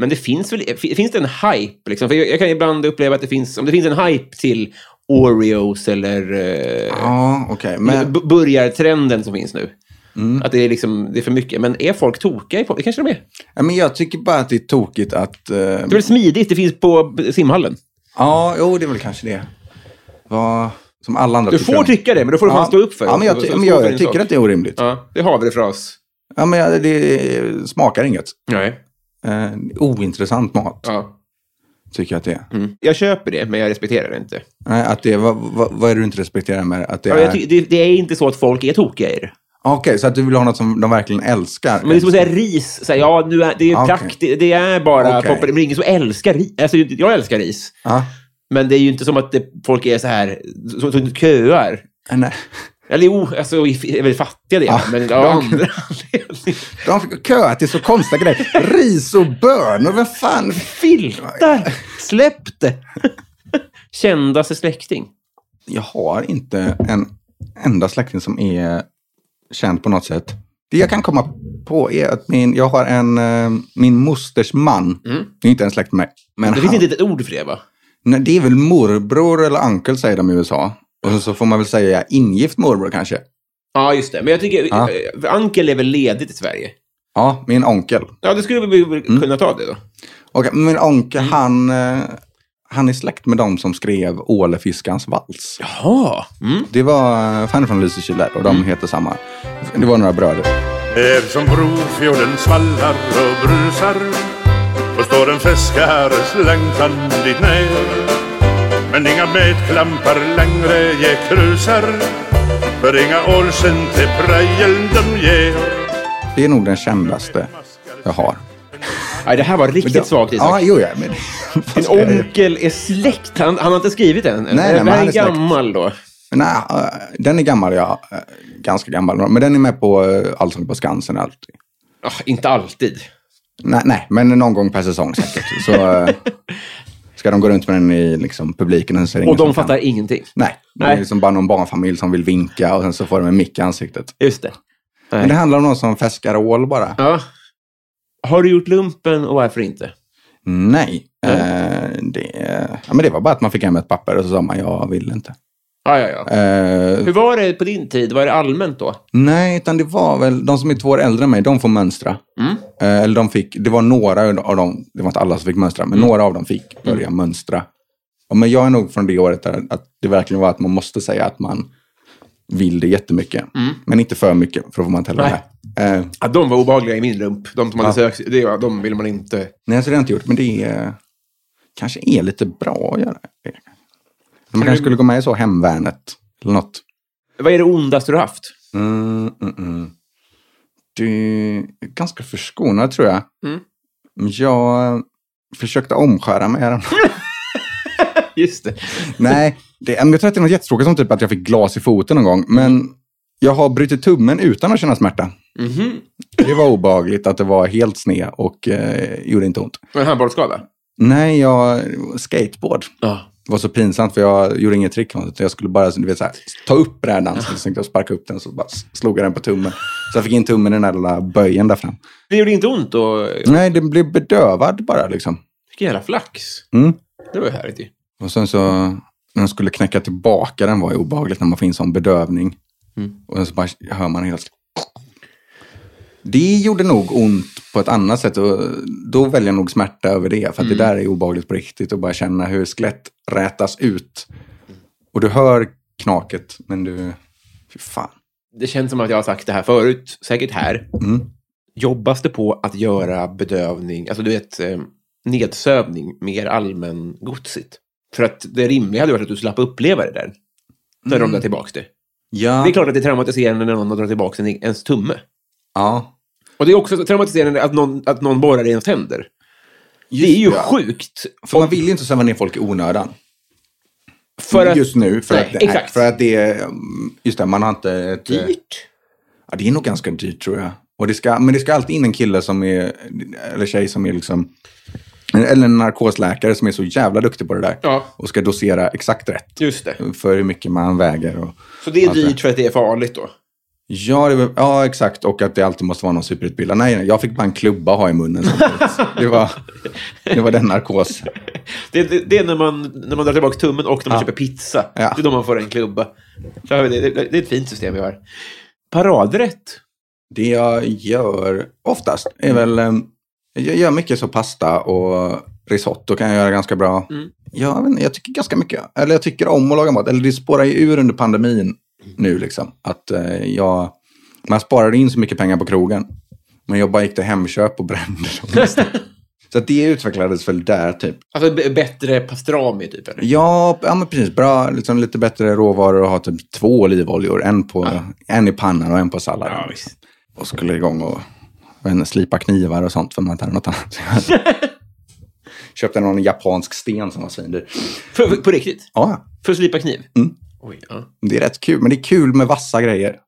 S2: Men det finns väl f- finns det en hype? Liksom? För jag, jag kan ibland uppleva att det finns, om det finns en hype till Oreos eller eh,
S3: ja, okej. Men,
S2: b- burgartrenden som finns nu.
S3: mm.
S2: Att det är, liksom, det är för mycket. Men är folk tokiga i på- Det kanske de är.
S3: ja, men jag tycker bara att det är tokigt att... eh,
S2: Det är väl smidigt? Det finns på b- simhallen.
S3: Ja, jo, det är väl kanske det. Vad... Som alla andra
S2: Du
S3: tycker
S2: får
S3: om.
S2: tycka det, men då får du fan
S3: ja.
S2: stå upp för
S3: Ja, men jag,
S2: Stå-
S3: ty-
S2: stå
S3: men
S2: för
S3: jag,
S2: din
S3: jag tycker
S2: sak.
S3: att det är orimligt. Ja,
S2: Ja, det har vi det fras.
S3: men jag, det smakar inget.
S2: Nej.
S3: Eh, ointressant mat,
S2: Ja.
S3: tycker jag att det är.
S2: Mm. Jag köper det, men jag respekterar det inte.
S3: Nej, att det är vad, vad, vad är det du inte respekterar med det? att det?
S2: Ja,
S3: är...
S2: jag ty- det, det är inte så att folk är tokiga i det.
S3: Ah, Okej, så att du vill ha något som de verkligen älskar?
S2: Men det är som att säga ris. Så här, ja, nu är, det är ju
S3: Okej.
S2: praktiskt. Det är bara
S3: Okej.
S2: poppar. Men det är ingen som älskar ris. Alltså, jag älskar ris.
S3: Ja.
S2: Men det är ju inte som att det, folk är så här, som, som köar.
S3: Eh, Nej.
S2: Eller jo, alltså, i- det är väl fattiga det,
S3: Ja,
S2: men
S3: de-
S2: av andra anledningar.
S3: De fick köa till så konstiga grejer. Ris och bönor, vem fan?
S2: Filtar! Släpp det! Kändaste släkting.
S3: Jag har inte en enda släkting som är känd på något sätt. Det jag kan komma på är att min, jag har en, eh, min mosters man,
S2: Mm.
S3: det är inte en släkt med mig, men
S2: Det
S3: han,
S2: finns inte ett ord för det, va?
S3: nej, det är väl morbror eller uncle säger de i USA. Och så får man väl säga ingift morbror kanske.
S2: Ja, just det. Men jag tycker,
S3: Ja.
S2: eh, Ankel är väl ledigt i Sverige?
S3: Ja, min onkel.
S2: Ja, det skulle vi väl
S3: Mm.
S2: kunna ta det då.
S3: Och min onkel,
S2: Mm.
S3: han, eh, han är släkt med de som skrev Ålefiskans vals.
S2: Jaha. Mm.
S3: Det var, eh, han är från Lysekil där och de heter samma. Det var några bröder.
S4: Här som Brofjorden svallar och brusar Och står en fiskares längtan dit ner Men inga metklampar längre ge krusar För inga år sen till prejen de ger
S3: Det är nog den kändaste jag har.
S2: Nej, det här var riktigt svagt, Isak.
S3: Ja, jo, ja, men...
S2: En onkel är släkt. Han, han har inte skrivit den. Nej,
S3: nej,
S2: den
S3: men
S2: här
S3: han
S2: är
S3: är släkt.
S2: gammal då.
S3: Nej, eh, den är gammal, ja. eh, Ganska gammal. Men den är med på eh, Allsång på Skansen alltid.
S2: Ah, inte alltid.
S3: Nej, nej, men någon gång per säsong säkert. Så eh, Ska de gå runt med den i liksom, publiken? Och, så är det ingen
S2: Och de
S3: som kan-
S2: fattar ingenting.
S3: Nej, det
S2: Nej.
S3: är liksom bara någon barnfamilj som vill vinka och sen så får de en mick i ansiktet.
S2: Just det. Nej.
S3: Men det handlar om någon som fäskar ål bara.
S2: Ja. Har du gjort lumpen och varför inte?
S3: Nej.
S2: Nej.
S3: Eh, det, ja, men det var bara att man fick hem ett papper och så sa man jag vill inte.
S2: Ja, ja, ja.
S3: Eh,
S2: Hur var det på din tid? Var det allmänt då?
S3: nej, utan det var väl de som är två år äldre än mig, de får mönstra.
S2: Mm.
S3: Eh, eller de fick, det var några av dem, det var inte alla som fick mönstra,
S2: Mm.
S3: men några av dem fick börja mönstra. Ja, men jag är nog från det året där att det verkligen var att man måste säga att man vill det jättemycket. Men inte för mycket, för då får man inte heller
S2: Mm. Nej.
S3: det. Eh,
S2: Ja, de var obehagliga i min lump. De som hade
S3: Ja.
S2: sökt, det, var- de ville man inte...
S3: Nej, så det har jag inte gjort, men det är, kanske är lite bra att göra. Man kanske
S2: du-
S3: skulle gå med i så Hemvärnet eller något.
S2: Vad är det ondaste du haft?
S3: Mm, mm, mm. Du är ganska förskonad tror jag.
S2: Mm.
S3: Jag försökte omskära mig här.
S2: Just det.
S3: Nej, det, men jag tror att det är något jättetråkigt som typ att jag fick glas i foten någon gång. Men
S2: Mm.
S3: jag har brutit tummen utan att känna smärta.
S2: Mhm.
S3: Det var obehagligt att det var helt sned och eh, gjorde inte ont.
S2: Var det handbollsskada?
S3: Nej, jag skateboard.
S2: Ja.
S3: Det var så pinsamt för jag gjorde inget trick. utan Jag skulle bara du vet, så här, ta upp brädan, så tänkte jag sparka upp den så bara slog jag den på tummen. Så jag fick in tummen i den där lilla böjen där fram.
S2: Det gjorde inte ont och...
S3: Nej, den blev bedövad bara liksom.
S2: Vilken jävla flax.
S3: Mm.
S2: Det var ju härligt ju.
S3: Och sen så, när de skulle knäcka tillbaka den var ju obehagligt när man får in sån bedövning.
S2: Mm.
S3: Och sen så bara hör man helt... Det gjorde nog ont på ett annat sätt och då väljer jag nog smärta över det.
S2: Mm.
S3: För att det där är obehagligt på riktigt och bara känna hur skelett rätas ut. Och du hör knaket, men du... Fy fan.
S2: Det känns som att jag har sagt det här förut, säkert här.
S3: Mm.
S2: Jobbas det på att göra bedövning, alltså du vet, eh, nedsövning mer allmängodsigt? För att det rimliga hade varit att du slapp uppleva det där. När de drar
S3: Mm.
S2: tillbaka det.
S3: Ja.
S2: Det är klart att det är traumatiserande när någon drar tillbaka en, ens tumme.
S3: ja.
S2: Och det är också traumatiserande att någon, att någon borrar i ens tänder. det är ju
S3: ja.
S2: sjukt.
S3: För man vill ju inte söva ner folk i onödan.
S2: För att...
S3: just nu. För,
S2: Nej,
S3: att, nej,
S2: exakt.
S3: för att det är... mm, Just det, man har inte... Ett, eh,
S2: Dyrt.
S3: Ja, det är nog ganska dyrt tror jag. Och det ska, men det ska alltid in en kille som är, eller tjej som är liksom, eller en narkosläkare som är så jävla duktig på det där.
S2: Ja.
S3: Och ska dosera exakt rätt
S2: Just det.
S3: för hur mycket man väger. Och,
S2: Så det är
S3: Alltså.
S2: dyrt för att det är farligt då.
S3: ja, det, var- ja, exakt. Och att det alltid måste vara någon superutbildad. Nej, nej, jag fick bara en klubba ha i munnen samtidigt. Det var, det var den narkos.
S2: Det, det, det är när man, när man drar tillbaka tummen och när man köper pizza.
S3: Ja.
S2: Det är då man får en klubba. Så har vi Det, det, det är ett fint system vi har. Paradrätt.
S3: Det jag gör oftast är väl, eh, jag gör mycket så pasta och risotto kan jag göra ganska bra.
S2: Mm.
S3: Jag, vet inte, jag tycker ganska mycket, eller jag tycker om att laga mat. Eller det spårar ju ur under
S2: Mm.
S3: pandemin nu liksom. Att eh, jag, man sparade in så mycket pengar på krogen. Men jag bara gick till Hemköp och brände dem. Så att det utvecklades väl där typ.
S2: Alltså b- bättre pastrami typ. Eller?
S3: Ja, ja men precis. Bra, liksom lite bättre råvaror och ha typ två olivoljor. En, på, en i pannan och en på salladen.
S2: Ja, visst.
S3: och skulle igång och jag vet inte, slipa knivar och sånt för man inte hade något annat. Köpte någon japansk sten som var svindyr.
S2: För, för, på riktigt?
S3: Ja,
S2: För att slipa kniv?
S3: Mm.
S2: Oj, ja.
S3: det är rätt kul. Men det är kul med vassa grejer.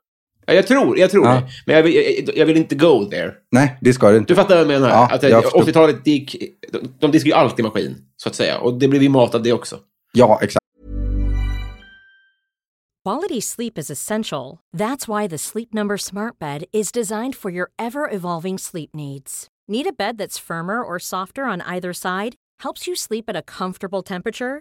S2: Ja, jag tror, jag tror
S3: Ja.
S2: det. Men jag vill, jag, jag vill inte go there.
S3: Nej, det ska det inte.
S2: Du fattar vad jag menar?
S3: Ja,
S2: att
S3: jag förstår.
S2: 80-talet, det gick, de, de diskade ju alltid maskin, så att säga. Och det blev ju matat det också.
S3: Ja, exakt.
S5: Quality sleep is essential. That's why the Sleep Number Smart Bed is designed for your ever evolving sleep needs. Need a bed that's firmer or softer on either side? Helps you sleep at a comfortable temperature?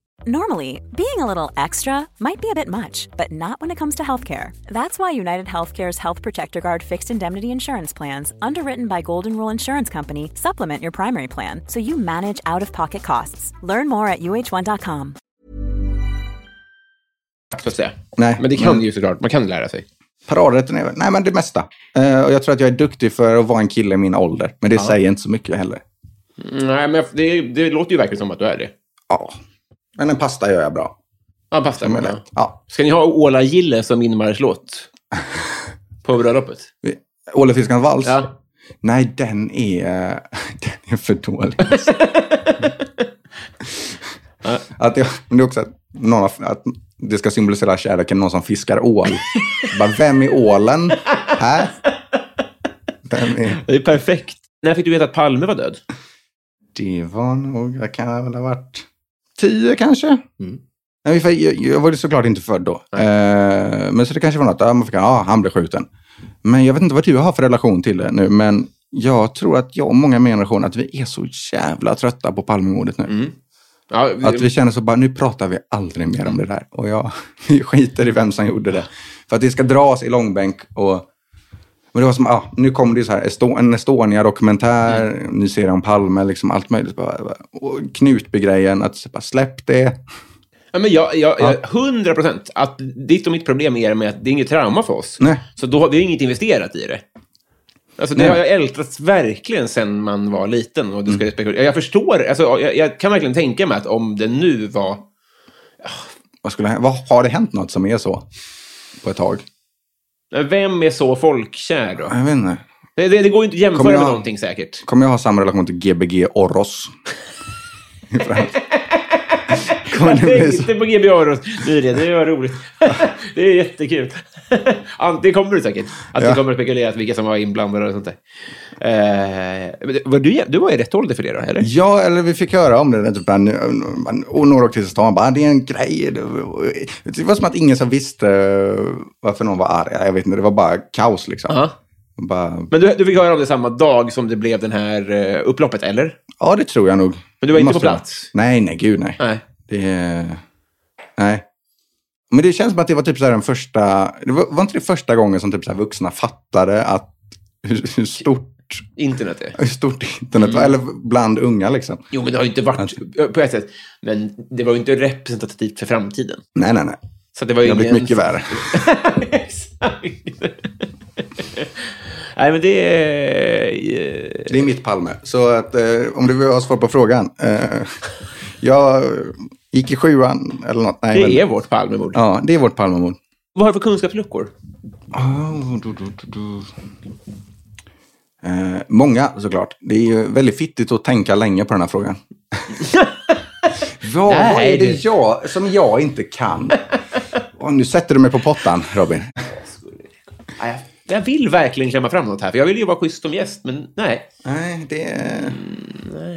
S6: Normally, being a little extra might be a bit much, but not when it comes to healthcare. That's why United Healthcare's Health Protector Guard fixed indemnity insurance plans, underwritten by Golden Rule Insurance Company, supplement your primary plan so you manage out of pocket costs. Learn more at uh1.com.
S2: Så att säga.
S3: Nej, Mm.
S2: Men det kan ju såklart, man kan lära sig.
S3: Paradrätten är väl- Nej, men det mesta. Eh, och jag tror att jag är duktig för att vara en kille i min ålder. Men det säger inte så mycket heller.
S2: Mm, Nej, men det, det låter ju verkligen som att du är det.
S3: Ja. Men en pasta gör jag bra.
S2: Ja, pasta.
S3: Jag menar,
S2: Ja.
S3: ja.
S2: Ska ni ha Åla Gille som inmarschlåt? På bröllopet?
S3: Ålefiskans vals.
S2: Ja.
S3: Nej, den är, den är för dålig. alltså. att jag, men det är också att, någon, har- att det ska symbolisera kärleken, någon som fiskar ål. Bara, vem är ålen? Här? Vem är...
S2: Det är perfekt. När fick du veta att Palme var död?
S3: Det var nog, jag kan väl ha varit tio kanske? Nej, för jag, jag var ju såklart inte född då. Eh, men så det kanske var något, ja, man fick, ja, han blev skjuten. Men jag vet inte vad du har för relation till det nu, men jag tror att jag och många i min generation, att vi är så jävla trötta på Palmemordet nu.
S2: Ja,
S3: Att vi känner så bara, nu pratar vi aldrig mer om det där. Och jag vi skiter i vem som gjorde det. För att det ska dras i långbänk och... Men det var som, ah, nu kom det ju så här, Esto- en Estonia-dokumentär, ny serie om Palme, liksom allt möjligt. Bara, bara- och Knutby-grejen, att så bara släpp det.
S2: Ja, men jag, jag, jag, 100 procent. Att ditt och mitt problem är med att det är inget trauma för oss.
S3: Nej.
S2: Så då har vi inget investerat i det. Alltså, det
S3: Nej. Mm.
S2: har jag ältats verkligen sen man var liten. Och du ska respektera. Jag, jag förstår, alltså, jag, jag kan verkligen tänka mig att om det nu var...
S3: Vad, skulle, hä- vad Har det hänt något som är så? På ett tag?
S2: Vem är så folkkär då?
S3: Jag vet inte.
S2: Det, det, det går ju inte att jämföra
S3: Kommer jag-
S2: med någonting säkert.
S3: Kommer jag ha samma relation till Gbg Oros? I framtiden? Kommer det bli så?
S2: Tänkte på GB Aros nyligen, det var roligt. det är jättekul. Ja, det kommer du säkert. Att
S3: Ja.
S2: det kommer att spekuleras vilka som var inblandade och sånt där. Eh, men det- var du, du var ju rätt ålder för det då, eller?
S3: Ja, eller vi fick höra om det. där, Typ, man, man, och några åkte till stan bara, "Ah, det är en grej. Det, det var som att ingen som visste eh, varför någon var arg. Jag vet inte, det var bara kaos liksom.
S2: Ja.
S3: Bara,
S2: Men du, du fick höra om det samma dag som det blev den här eh, upploppet, eller?
S3: ja, det tror jag nog.
S2: Men du var inte
S3: Måste
S2: på
S3: vara.
S2: plats?
S3: Nej, nej, gud nej.
S2: Nej.
S3: Det, nej. Men det känns som att det var typ så här den första, det var, var inte det första gången som typ så här vuxna fattade att hur, hur stort
S2: Internet är.
S3: hur stort internet var,
S2: Mm.
S3: eller bland unga liksom.
S2: Jo, men det har ju inte varit... eh, På ett sätt. Men det var ju inte representativt för framtiden.
S3: Nej, nej, nej.
S2: Så att det var
S3: Det
S2: ju
S3: har blivit
S2: ingen...
S3: mycket värre.
S2: Exakt. Nej, men det är... eh,
S3: Det är mitt Palme. Så att, eh, om du vill ha svar på frågan. Eh, jag gick i sjuan eller något. Nej, men,
S2: Det är vårt Palmemord.
S3: Ja, det är vårt Palmemord.
S2: Vad har du för kunskapsluckor?
S3: Oh, du, du, du, du. Eh, många såklart. Det är ju väldigt fittigt att tänka länge på den här frågan. Vad
S2: Nej,
S3: är det
S2: du.
S3: jag, som jag inte kan? Åh, nu sätter du mig på pottan, Robin.
S2: Ja, jag- Jag vill verkligen klämma fram något här, för jag vill ju vara schysst som gäst, men nej.
S3: Nej, det är...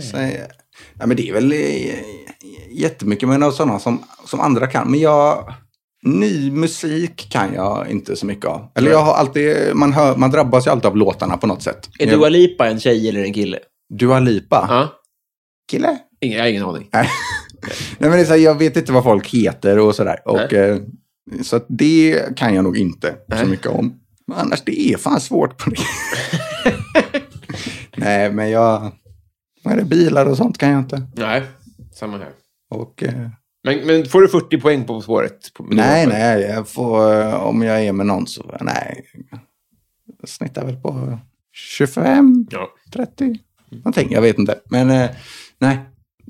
S3: Så, ja, men det är väl eh, jättemycket men av sådana som, som andra kan. Men jag... Ny musik kan jag inte så mycket av. Eller jag har alltid... Man, hör, man drabbas ju alltid av låtarna på något sätt.
S2: Är
S3: Jag-
S2: Dua Lipa en tjej eller en kille?
S3: Dua Lipa?
S2: Ja.
S3: Kille?
S2: Ingen, jag har ingen aning.
S3: Nej. Nej, men det är så här, jag vet inte vad folk heter och sådär. Och, eh, så att det kan jag nog inte så mycket om. Men annars, det är fan svårt på det. Nej, men jag... Vad är det? Bilar och sånt kan jag inte.
S2: Nej, samma här.
S3: Och, eh,
S2: Men, men får du 40 poäng på spåret? På- med
S3: nej,
S2: det?
S3: nej, jag får, eh, om jag är med någon så, nej. Jag snittar väl på 25,
S2: Ja.
S3: 30, någonting. Jag vet inte. Men eh, nej,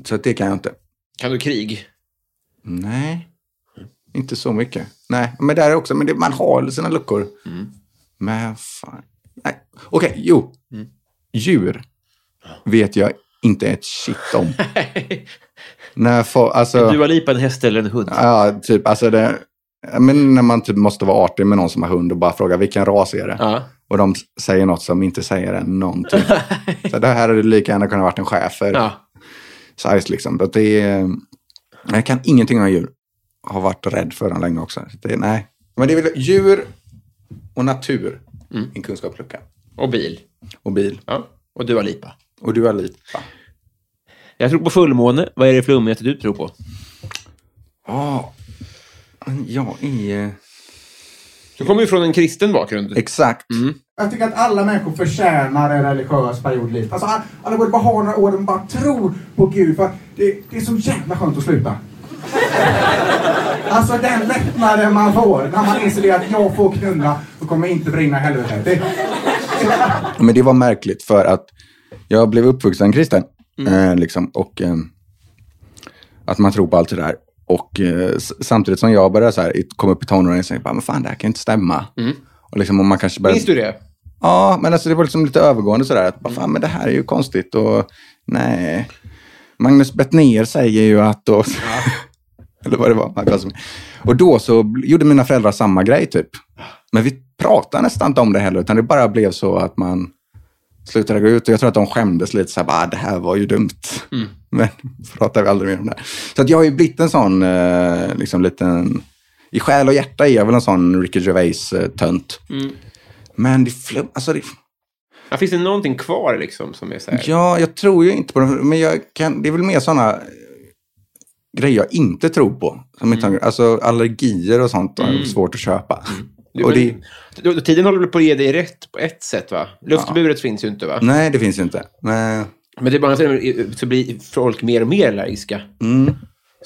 S3: så att det kan jag inte.
S2: Kan du krig?
S3: Nej, inte så mycket. Nej, men där är också, men det, man har sina luckor. Men fan, nej. Okej, jo. Djur vet jag inte ett shit om. När får, alltså...
S2: Dua Lipa en häst eller en hund?
S3: Ja, typ. Alltså det, men när man typ måste vara artig med någon som har hund och bara fråga vilken ras är det?
S2: Ja.
S3: Och de s- säger något som inte säger en någonting. så det här hade det lika gärna kunnat varit en schäfer.
S2: Ja.
S3: Size liksom. Så att det är, jag kan ingenting om djur. Har varit rädd för dem länge också. Så Det, är- nej. Men det är väl djur och natur. Min kunskapslucka.
S2: Och bil.
S3: Och bil.
S2: Mm. Ja. Och Dua Lipa.
S3: Och du har lipa.
S2: Jag tror på fullmåne. Vad är det flummigaste du tror på?
S3: Ja, jag är...
S2: Du kommer ju från en kristen bakgrund.
S3: Exakt.
S7: Jag tycker att alla människor förtjänar en religiös period i livet. Alltså, alla- alla borde bara ha några år där man bara tror på Gud. För att det, det är så jävla skönt att sluta. Alltså den lättnaden man får när man inser det att jag får knulla och kommer inte brinna i helvetet. Det,
S3: Men det var märkligt för att jag blev uppvuxen kristen. Eh, liksom, och eh, att man tror på allt det där. Och eh, s- samtidigt som jag började så här, i- kom upp i tonåren och tänkte, men fan det här kan ju inte stämma. Och liksom, och man kanske började...
S2: Minns du det?
S3: Ja, men alltså det var liksom lite övergående sådär. Att, vad fan, men det här är ju konstigt och nej. Magnus Bettner säger ju att... Och, eller vad det var. Marcus. Och då så bl- gjorde mina föräldrar samma grej typ. Men vi pratade nästan inte om det heller, utan det bara blev så att man slutade gå ut. Och jag tror att de skämdes lite så här, bara, det här var ju dumt. Men pratade vi aldrig mer om det. här. Så att jag har ju blivit en sån, eh, liksom liten... I själ och hjärta är jag väl en sån Ricky Gervais-tönt. Men det, flum, alltså det,
S2: Ja, finns det någonting kvar liksom som är så här?
S3: ja, jag tror ju inte på det. Men jag kan, det är väl mer sådana grejer jag inte tror på. Som inte, har- Alltså allergier och sånt är svårt att köpa.
S2: Du,
S3: Och
S2: men-
S3: det,
S2: du- Tiden håller väl på att ge dig rätt på ett sätt, va? Luftburet finns ju inte, va?
S3: nej, det finns ju inte. Men,
S2: Men det är bara så- så blir folk mer och mer allergiska.
S3: Mm.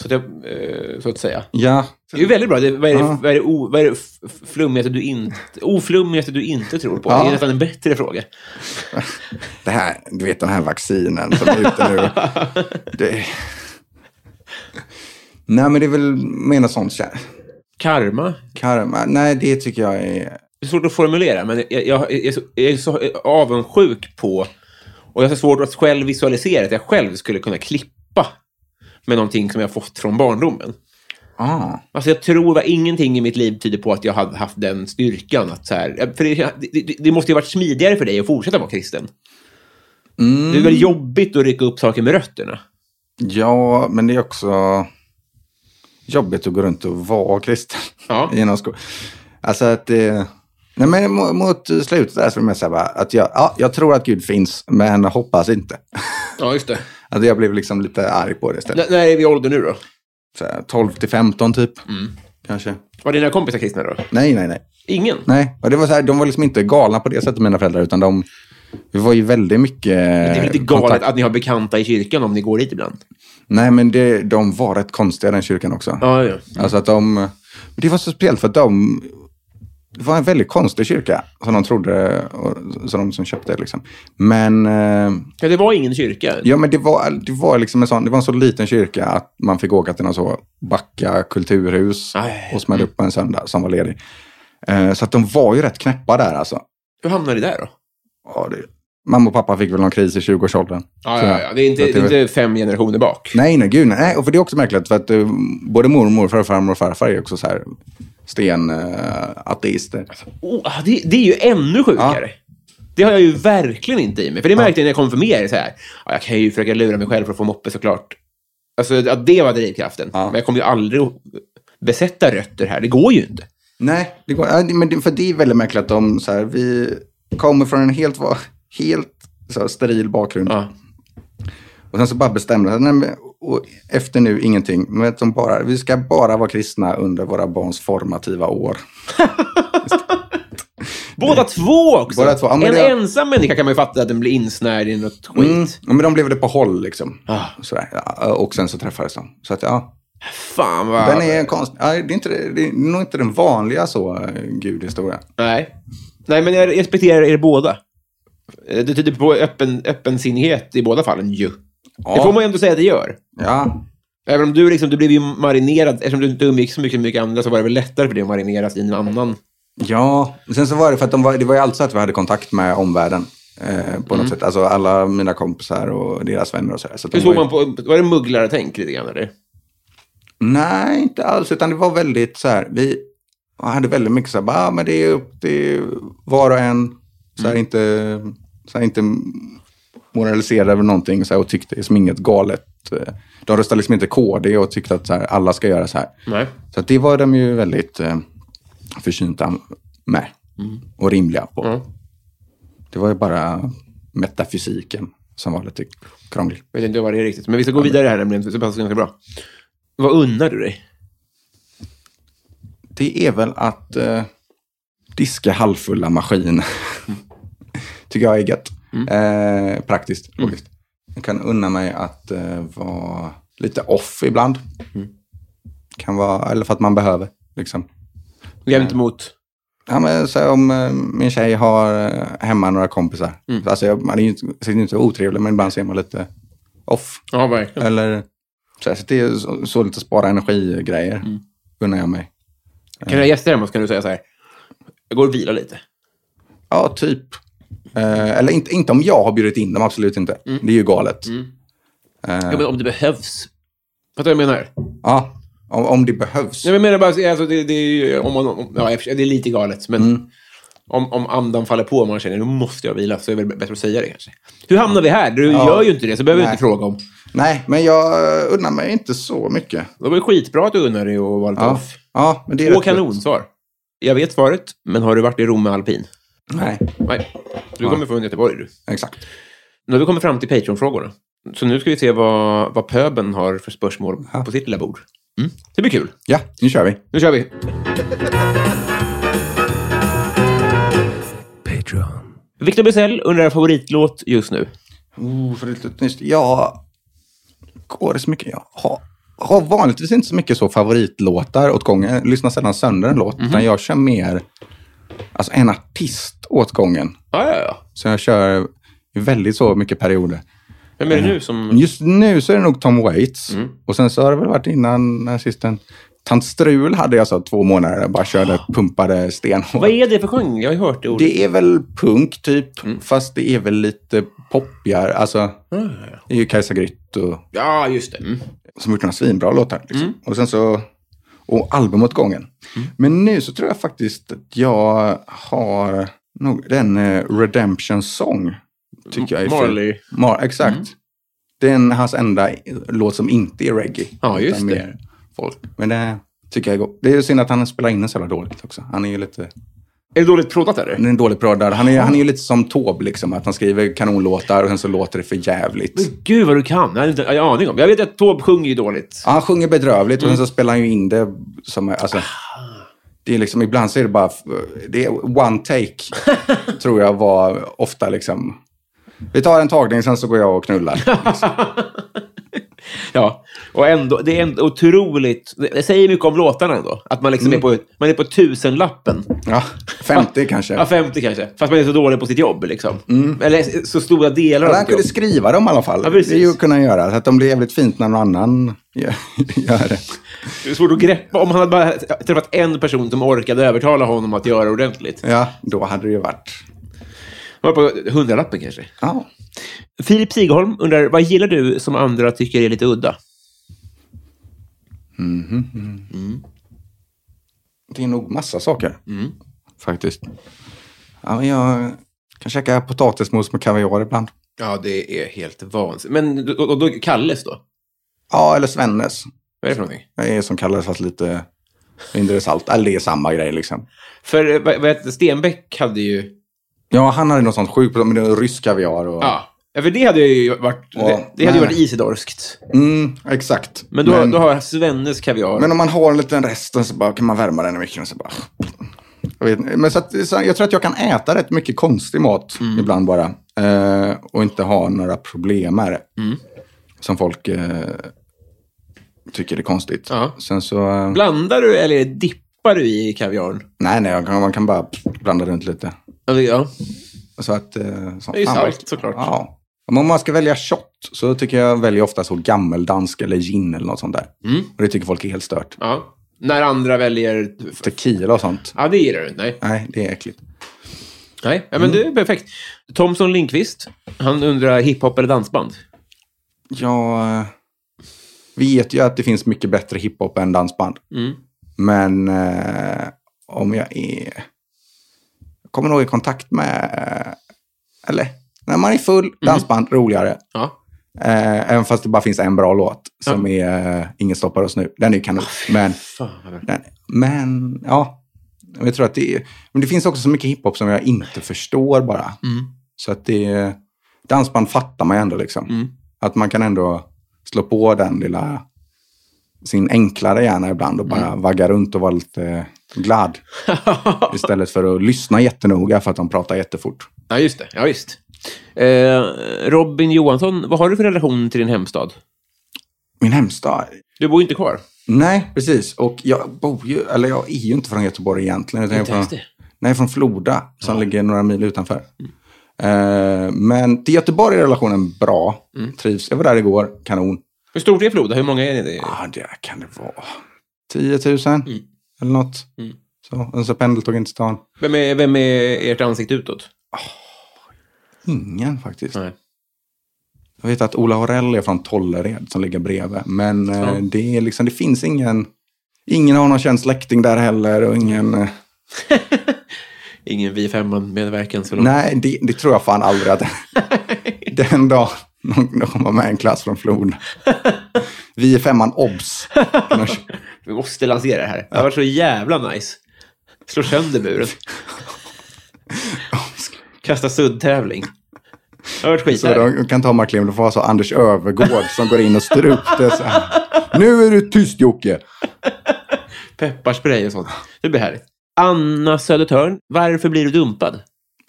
S2: Så, att, jag, eh, så att säga.
S3: ja,
S2: Det är ju väldigt bra. Det, vad är det,
S3: Ja.
S2: vad är det, o, vad är det f- f- flummigaste du inte, oflummigaste du inte tror på?
S3: Ja.
S2: Det är nästan en bättre fråga.
S3: det här, du vet de här vaccinen som är ute nu. Det, nej, men det är väl mer något sånt. kär-
S2: Karma.
S3: Karma, nej, det tycker jag är...
S2: Det är svårt att formulera, men jag, jag, jag, är, så, jag är så avundsjuk på... Och jag har så svårt att själv visualisera att jag själv skulle kunna klippa med någonting som jag fått från barndomen.
S3: Ah.
S2: Alltså jag tror att ingenting i mitt liv tyder på att jag hade haft den styrkan. Att så här, eh, för det, det, det måste ju ha varit smidigare för dig att fortsätta vara kristen. Det är väl jobbigt att rycka upp saker med rötterna?
S3: Ja, men det är också jobbigt att gå runt och vara kristen.
S2: Ja.
S3: I någon sko- alltså att det... Nej, men mot, mot slutet där så är det mest så här bara att jag, ja, jag tror att Gud finns, men hoppas inte.
S2: Ja, just det.
S3: Att jag blev liksom lite arg på det istället.
S2: N- när är vi i ålder nu då?
S3: Så här, 12 till 15 typ,
S2: Mm.
S3: kanske.
S2: Var dina kompisar kristna då?
S3: Nej, nej, nej.
S2: Ingen?
S3: nej. Och det var så här, de var liksom inte galna på det sättet, mina föräldrar, utan de... Vi var ju väldigt mycket...
S2: Det är väl inte galet att ni har bekanta i kyrkan om ni går dit ibland?
S3: Nej, men det, de var rätt konstiga, den kyrkan också.
S2: Ja, ja.
S3: Alltså att de... men Det var så speciellt för att de... Det var en väldigt konstig kyrka som de trodde, och, som de som köpte liksom. Men, eh,
S2: ja det var ingen kyrka?
S3: ja men det var, det var liksom en sån, det var en så liten kyrka att man fick åka till någon så Backa kulturhus
S2: Aj.
S3: och smälla upp på en söndag som var ledig. Eh, så att de var ju rätt knäppa där alltså.
S2: Hur hamnade ni där då?
S3: Ja, det, mamma och pappa fick väl någon kris i 20-årsåldern.
S2: Ja,
S3: Så-
S2: ja, ja. Det är inte,
S3: så att det
S2: det är
S3: var-
S2: inte fem generationer bak.
S3: Nej, nej, gud nej. Och för det är också märkligt för att eh, både mormor, farfar, farmor och farfar är också så här sten eh, ateister.
S2: Oh, ah, det, det är ju ännu sjukare. Det har jag ju verkligen inte i mig. För det märkte jag när jag kom för mer. Så här, ja, jag kan ju försöka lura mig själv för att få moppe såklart. Alltså, att det var drivkraften. Men jag kommer ju aldrig att besätta rötter här. Det går ju inte.
S3: Nej, det går, ja, det- men det, för det är väldigt märkligt att de så här, vi kommer från en helt, va- helt så här, steril bakgrund.
S2: Ja.
S3: Och sen så bara bestämde de, nej, men- och efter nu ingenting, men att de bara, vi ska bara vara kristna under våra barns formativa år.
S2: Båda två också!
S3: Båda två, ja, men
S2: en
S3: det-
S2: ensam människa kan man ju fatta att den blir insnärjd i något skit.
S3: Mm. Ja, Men de blev det på håll liksom.
S2: Ah.
S3: Så där. Ja, och sen så träffades de. Så att ja,
S2: Fan vad...
S3: den är en konst... Ja, det, är inte, det är nog inte den vanliga så, eh, gudhistorien.
S2: Nej. Nej, men jag respekterar er båda. Eh, Det tyder på öppen, öppensinnighet i båda fallen ju. Det får man ju ändå säga att det gör.
S3: Ja,
S2: Även om du liksom, du blev ju marinerad, eftersom du inte umgicks så mycket med mycket andra så var det väl lättare för dig att marineras i en annan.
S3: Ja, sen så var det för att de var, det var ju alltid så att vi hade kontakt med omvärlden. Eh, på något sätt. Alltså alla mina kompisar och deras vänner och sådär. Så att
S2: Mm. Hur
S3: de
S2: såg
S3: var
S2: man
S3: ju-
S2: på, var det mugglare-tänk lite grann eller?
S3: Nej, inte alls. Utan det var väldigt så här, vi hade väldigt mycket så här, bara, ah, men det är upp till var och en. Så
S2: Mm.
S3: här, inte, så här, inte moraliserade över någonting så här, och tyckte liksom inget galet. Eh, De röstade liksom inte KD och tyckte att så här, alla ska göra så här.
S2: Nej.
S3: Så att det var de ju väldigt eh, försynta med. Och rimliga på.
S2: Ja.
S3: Det var ju bara metafysiken som var lite krånglig.
S2: Jag vet inte vad det är riktigt. Men vi ska gå vidare här nämligen, så det passar ganska bra. Vad unnar du dig?
S3: Det är väl att eh, diska halvfulla maskiner. Tycker jag är gött. Eh, praktiskt, logiskt. Jag kan unna mig att eh, vara lite off ibland. Kan vara, eller för att man behöver. Liksom.
S2: Jämt emot?
S3: Ja, men, så om eh, min tjej har eh, hemma några kompisar.
S2: Mm.
S3: Alltså, jag, man är ju inte, sitter ju inte otrevlig, men ibland ser man lite off.
S2: Ja, verkligen.
S3: Eller Så, här, så det är så, så lite spara energi-grejer,
S2: Mm.
S3: unnar jag mig.
S2: Kan du ha gäster hemma så kan du säga så här. Jag går och vilar lite.
S3: Ja, typ. Eh, eller inte, inte om jag har bjudit in dem, absolut inte.
S2: Mm.
S3: Det är ju galet.
S2: Ja, men om det behövs. Fattar du vad jag menar?
S3: Ja, om, om det behövs.
S2: Nej, men jag menar bara, alltså, det, det, är ju, om man, om, ja, i och för sig, det är lite galet, men
S3: Mm.
S2: om, om andan faller på och man känner nu måste jag vila, så är det väl bättre att säga det kanske. Hur hamnar vi här? Du gör ju inte det, så behöver du
S3: Nej.
S2: inte fråga om.
S3: Nej, men jag eh, unnar mig inte så mycket.
S2: Det var ju skitbra att du unnar dig att vara lite
S3: Ja,
S2: off.
S3: ja men det är
S2: Två
S3: rätt
S2: kanonsvar. Jag vet svaret, men har du varit i Rom med alpin?
S3: gott. Nej,
S2: Nej. Du kommer från Göteborg, du.
S3: exakt.
S2: Nu har vi kommit fram till Patreon-frågorna. Så nu ska vi se vad, vad pöben har för spörsmål
S3: Ja.
S2: på sitt lilla bord. Mm. Det blir kul.
S3: Ja, nu kör vi.
S2: Nu kör vi.
S8: Patreon.
S2: Victor Bysell undrar favoritlåt just nu.
S3: Oh, för det är lite nyss. Jag går det så mycket. Jag har, har vanligtvis inte så mycket så favoritlåtar åt gången. Jag lyssnar sällan sönder en låt,
S2: Mhm.
S3: utan jag kör mer alltså en artist åt gången.
S2: Ja, ja, ja.
S3: Så jag kör väldigt så mycket perioder.
S2: Vem är det nu som...
S3: Just nu så är det nog Tom Waits.
S2: Mm.
S3: Och sen så har det väl varit innan den här sisten. Tant Strul hade jag så två månader. Jag bara körde, pumpade stenhårt.
S2: Vad är det för genre? Jag har ju hört det ordet.
S3: Det är väl punk typ,
S2: Mm.
S3: fast det är väl lite poppigare. Alltså, det är ju Kajsa Grytt och,
S2: Ja, just det. Mm.
S3: som gjort några svinbra låtar. Liksom. Och sen så, och album åt gången.
S2: Mm.
S3: Men nu så tror jag faktiskt att jag har nog den eh, Redemption Song. Tycker jag är fin.
S2: Marley. Mm.
S3: Mar exakt. Det är en, hans enda eh, låt som inte är reggae.
S2: Ja, just
S3: utan
S2: det.
S3: mer Folk. Men det tycker jag är gott. Det är ju synd att han spelar in den så jävla dåligt också. Han är ju lite...
S2: Är det dåligt proddat, eller?
S3: Han är en dålig proddare. Han är, han är ju lite som Taube, liksom. Att han skriver kanonlåtar och sen så låter det för jävligt.
S2: Men Gud vad du kan. Jag hade inte en aning om. Jag vet att Taube sjunger ju dåligt.
S3: Ja, han sjunger bedrövligt och sen
S2: Mm.
S3: så spelar han ju in det som... Alltså, det är liksom, ibland så är det bara... Det är one take, tror jag var ofta liksom. Vi tar en tagning, sen så går jag och knullar.
S2: Ja. Och ändå, det är ändå otroligt. Det det säger mycket om låtarna ändå. Att man liksom är på, man är på tusenlappen.
S3: Mm. Ja, 50 kanske. Mm.
S2: Ja, 50 kanske. Fast man är så dålig på sitt jobb liksom. Eller så stora delar
S3: Men
S2: av
S3: han
S2: sitt jobb.
S3: kunde skriva dem i alla fall.
S2: Ja, precis.
S3: det är ju att kunna göra. Så att de blir jävligt fint när någon annan gör, gör det.
S2: Det är svårt att greppa. Om han hade bara träffat en person som orkade övertala honom att göra ordentligt.
S3: Ja, då hade det ju varit...
S2: Han var på hundralappen kanske.
S3: Ja.
S2: Filip Sigholm undrar, vad gillar du som andra tycker är lite udda?
S3: Det är nog massa saker.
S2: Mm.
S3: Faktiskt. Ja, men jag kan käka potatismos med kaviar ibland.
S2: Ja, det är helt vansinnigt. Men och, och då Kalles då?
S3: Ja, eller Svennes.
S2: Vad är det för någonting?
S3: Det är som kallas fast lite mindre salt. Eller det är samma grej liksom.
S2: För eh, vad, vad heter, Stenbeck hade ju...
S3: Ja, han hade något sånt sjukt. Men det är rysk kaviar och...
S2: Ja. ja, för det hade ju varit,
S3: Ja,
S2: det, det hade ju
S3: nej.
S2: varit isidorskt.
S3: Mm, exakt.
S2: Men då,
S3: men,
S2: då har Svennes kaviar.
S3: men om man har en liten rest så bara, kan man värma den i mikron. Så bara... Jag, vet, inte. men så att, så, jag tror att jag kan äta rätt mycket konstig mat
S2: Mm.
S3: ibland bara. Eh, och inte ha några problem med det.
S2: Mm.
S3: Som folk eh, tycker är konstigt.
S2: Ja.
S3: Sen så... eh,
S2: Blandar du eller dippar du i kaviaren?
S3: Nej, nej, man kan, man kan bara blanda runt lite.
S2: Ja, det- Ja.
S3: Så att, eh, så,
S2: Det är ju
S3: fan,
S2: salt,
S3: vad-
S2: såklart.
S3: Ja. Om man ska välja shot så tycker jag väljer ofta så gammeldansk eller gin eller något sånt där.
S2: Mm.
S3: Och det tycker folk är helt stört.
S2: ja. När andra väljer...
S3: Tequila och sånt.
S2: Ja, det gillar du inte. Nej.
S3: Nej, det är äckligt.
S2: Nej, ja, men det är perfekt. Thomson Lindqvist, han undrar hiphop eller dansband.
S3: Jag eh, vet ju att det finns mycket bättre hiphop än dansband.
S2: Mm.
S3: Men eh, om jag är... Jag kommer nog i kontakt med... Eller? När man är
S2: Mm.
S3: full, dansband, roligare.
S2: Ja.
S3: Eh, även fast det bara finns en bra låt som är eh, Ingen stoppar oss nu. Den är ju kanon. Men, den, men ja. Men Jag tror att det, är, men det finns också så mycket hiphop som jag inte förstår bara. Så att det är- Dansband fattar man ju ändå liksom. Att man kan ändå slå på den lilla, sin enklare hjärna ibland och bara vagga runt och vara lite glad. Istället för att lyssna jättenoga för att de pratar jättefort.
S2: Ja, just det. Ja, visst. Eh, Robin Johansson, vad har du för relation till din hemstad?
S3: Min hemstad,
S2: Du bor ju inte kvar.
S3: Nej, precis. Och jag bor ju, eller jag är ju inte från Göteborg egentligen. Utan jag är
S2: ens
S3: från,
S2: det?
S3: nej, från Floda som ligger några mil utanför. Eh, men till Göteborg är relationen bra. Trivs. Jag var där igår, kanon.
S2: Hur stort är Floda? Hur många är det?
S3: Ja, det kan det vara. 10 000 eller något.
S2: Mm.
S3: Så, och så pendeltåg in till stan.
S2: Vem är, vem är ert ansikte utåt?
S3: Ingen faktiskt.
S2: Nej.
S3: Jag vet att Ola Horell är från Tollered som ligger bredvid. Men eh,
S2: Ja.
S3: det, är liksom, det finns ingen... Ingen har någon känd släkting där heller och ingen... eh,
S2: Ingen vi femman medverkan så långt.
S3: Nej, det, det tror jag fan aldrig att... den dag någon någon kommer med en klass från Flod. Vi är femman obs. Annars-
S2: Vi måste lansera det här. Det har varit så jävla nice. Slå sönder muren. Kasta suddtävling. Det har varit skit
S3: Så
S2: här.
S3: de kan ta Mark Levenfors och alltså Anders Övergård som går in och styr upp det så här. Nu är du tyst Jocke!
S2: Pepparspray och sånt. Det blir härligt. Anna Södertörn, varför blir du dumpad?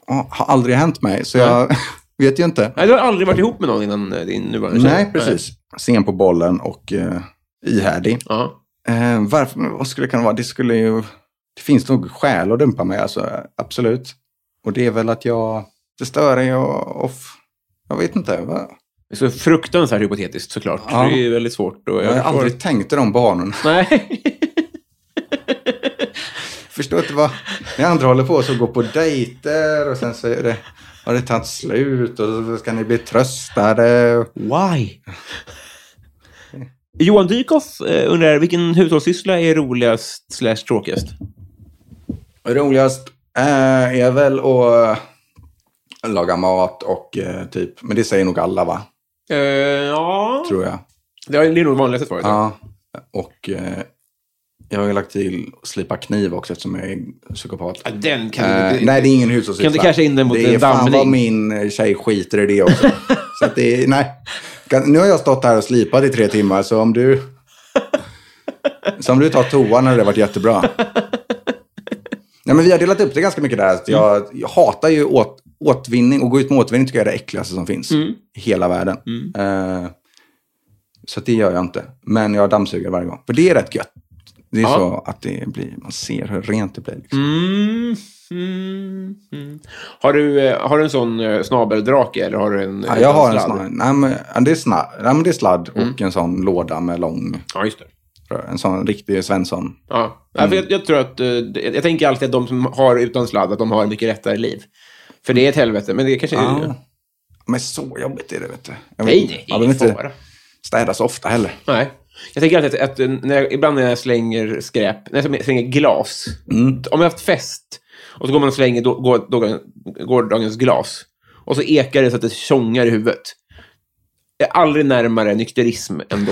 S3: Ja, har aldrig hänt mig, så jag vet ju inte.
S2: Nej, du har aldrig varit ihop med någon innan eh, din nuvarande tjej.
S3: Nej, precis. Sen på bollen och eh, ihärdig.
S2: Ja.
S3: Eh, varför, vad skulle det kunna vara? Det skulle ju... Det finns nog skäl att dumpa mig, alltså. Absolut. Och det är väl att jag... Det stör en jag... Off. Jag vet inte. Va?
S2: Så fruktansvärt hypotetiskt såklart.
S3: Ja.
S2: Det är ju väldigt svårt. Och
S3: Jag har
S2: förstår-
S3: aldrig tänkt i de banorna.
S2: Nej.
S3: Förstår inte vad... Ni andra håller på så går på dejter och sen så är det, har det tagit slut och så ska ni bli tröstade.
S2: Why? Johan Dykhoff eh, undrar, vilken hushållssyssla är roligast slash tråkigast?
S3: Roligast eh, är väl att eh, laga mat och eh, typ... Men det säger nog alla, va?
S2: Eh, ja,
S3: Tror jag.
S2: det är det är nog det vanligaste svaret.
S3: Ja, och eh, jag har ju lagt till att slipa kniv också eftersom jag är psykopat.
S2: Ja, Den kan du
S3: Eh,
S2: inte...
S3: nej, det är ingen hushållssyssla.
S2: Kan du casha in den mot
S3: det är
S2: en
S3: Fan vad
S2: dammring?
S3: min eh, tjej skiter i det också. så att det är, nej. Kan, nu har jag stått här och slipat i tre timmar, så om du... Så om du tar toan hade det varit jättebra. Nej, men vi har delat upp det ganska mycket där. Att Jag,
S2: Mm.
S3: jag hatar ju åt, återvinning och gå ut med återvinning tycker jag är det äckligaste som finns
S2: Mm.
S3: i hela världen. Eh, så att det gör jag inte. Men jag dammsuger varje gång. För det är rätt gött. Det är
S2: Ja.
S3: så att det blir, man ser hur rent det blir. Liksom.
S2: Mm, mm, mm. Har, du, eh, har du en sån eh, snabeldrake eller har du en... eh,
S3: Ja, jag har en
S2: sladd? Mm.
S3: sån. Nej, men, ja, det är, sna, nej, men det är sladd och en sån låda med lång
S2: Ja, just det.
S3: rör. En sån riktig Svensson.
S2: Ja. Ja, för jag, jag tror att... eh, Jag, jag tänker alltid att de som har utan sladd, att de har mycket rättare liv. För det är ett helvete, men det kanske är...
S3: Ja. Men så jobbigt är det, vet du. Jag
S2: Nej,
S3: vet-
S2: nej, det
S3: jag
S2: är
S3: vill
S2: ingen
S3: inte
S2: fara.
S3: städa så ofta heller.
S2: Nej. Jag tänker alltid att, att när jag, ibland när jag slänger skräp, när jag slänger glas.
S3: Mm.
S2: Om jag haft fest och så går man och slänger då, går, då, gårdagens glas. Och så ekar det så att det tjongar i huvudet. Jag är aldrig närmare nykterism än då.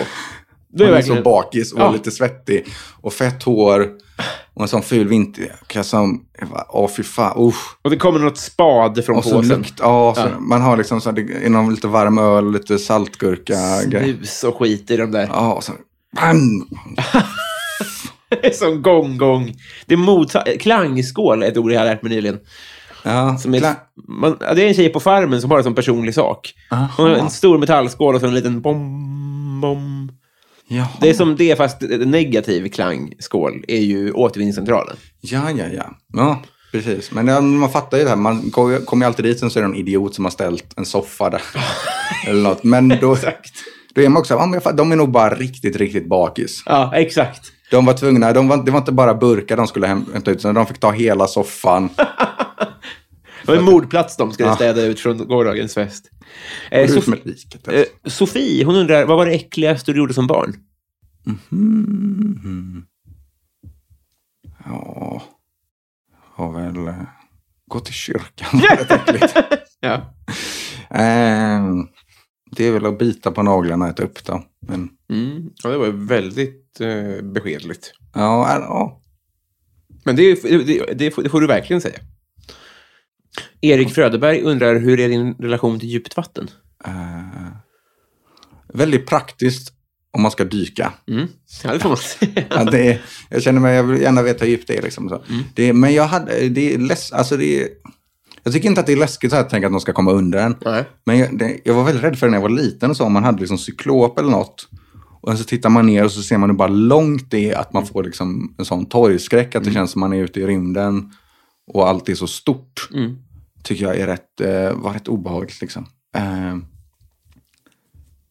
S2: Då
S3: Man är
S2: verkligen-
S3: så bakis och
S2: Ja.
S3: lite svettig och fett hår och en sån ful vinterjacka som... jag bara, Åh, fy fan. Usch.
S2: Och det kommer något spad från
S3: Och så
S2: påsen.
S3: lukt. Ja, så
S2: Ja.
S3: man har liksom så här, det är någon lite varm öl, lite saltgurka. grej.
S2: Snus och skit i de där.
S3: Ja, och så... Bang!
S2: Det är Som gång-gång. Det är motsa- klangskål är ett ord jag har lärt mig nyligen.
S3: Ja,
S2: Som är,
S3: kla-
S2: man, ja, det är en tjej på farmen som har det som personlig sak.
S3: Aha.
S2: Hon har en stor metallskål och så en liten bom, bom.
S3: Jaha.
S2: Det är som det, fast negativ klangskål är ju återvinningscentralen.
S3: Ja, ja, ja. Ja, precis. Men ja, man fattar ju det här. Man går ju- kommer ju alltid dit sen så är det en idiot som har ställt en soffa där. Eller något. Men då, då är man också, ja, men jag fattar, de är nog bara riktigt, riktigt bakis.
S2: Ja, exakt.
S3: De var tvungna, de var, det var inte bara burkar de skulle häm- hämta ut, utan de fick ta hela soffan.
S2: Det var en mordplats de skulle
S3: Ja.
S2: städa ut från gårdagens fest. Eh,
S3: Ut
S2: Sof-
S3: med liket.
S2: eh, Sofie, hon undrar, vad var det äckligaste du gjorde som barn?
S3: Ja, har väl eh, gått till kyrkan. var rätt äckligt.
S2: Ja.
S3: Ehm, det är väl att bita på naglarna och äta upp dem. Men
S2: Mm. ja, det var väldigt eh, beskedligt.
S3: ja, eh, ja,
S2: Men det, är- det, det, får- det får du verkligen säga. Erik Fröderberg undrar, hur är din relation till djupt vatten?
S3: Eh, väldigt praktiskt om man ska dyka.
S2: Mm. Ja, det får man säga.
S3: Att det är, jag känner mig, jag vill gärna veta hur djupt det är. Liksom, så. Det, men jag hade, det är läs, alltså det är, jag tycker inte att det är läskigt så här, att tänka att någon ska komma under en.
S2: Nej.
S3: Men jag, det, jag var väldigt rädd för det när jag var liten och så, om man hade liksom cyklop eller något. Och så tittar man ner och så ser man hur bara långt det är att man får liksom en sån torgskräck, att det känns som man är ute i rymden och allt är så stort. Tycker jag är rätt, eh, var rätt obehagligt liksom. Eh,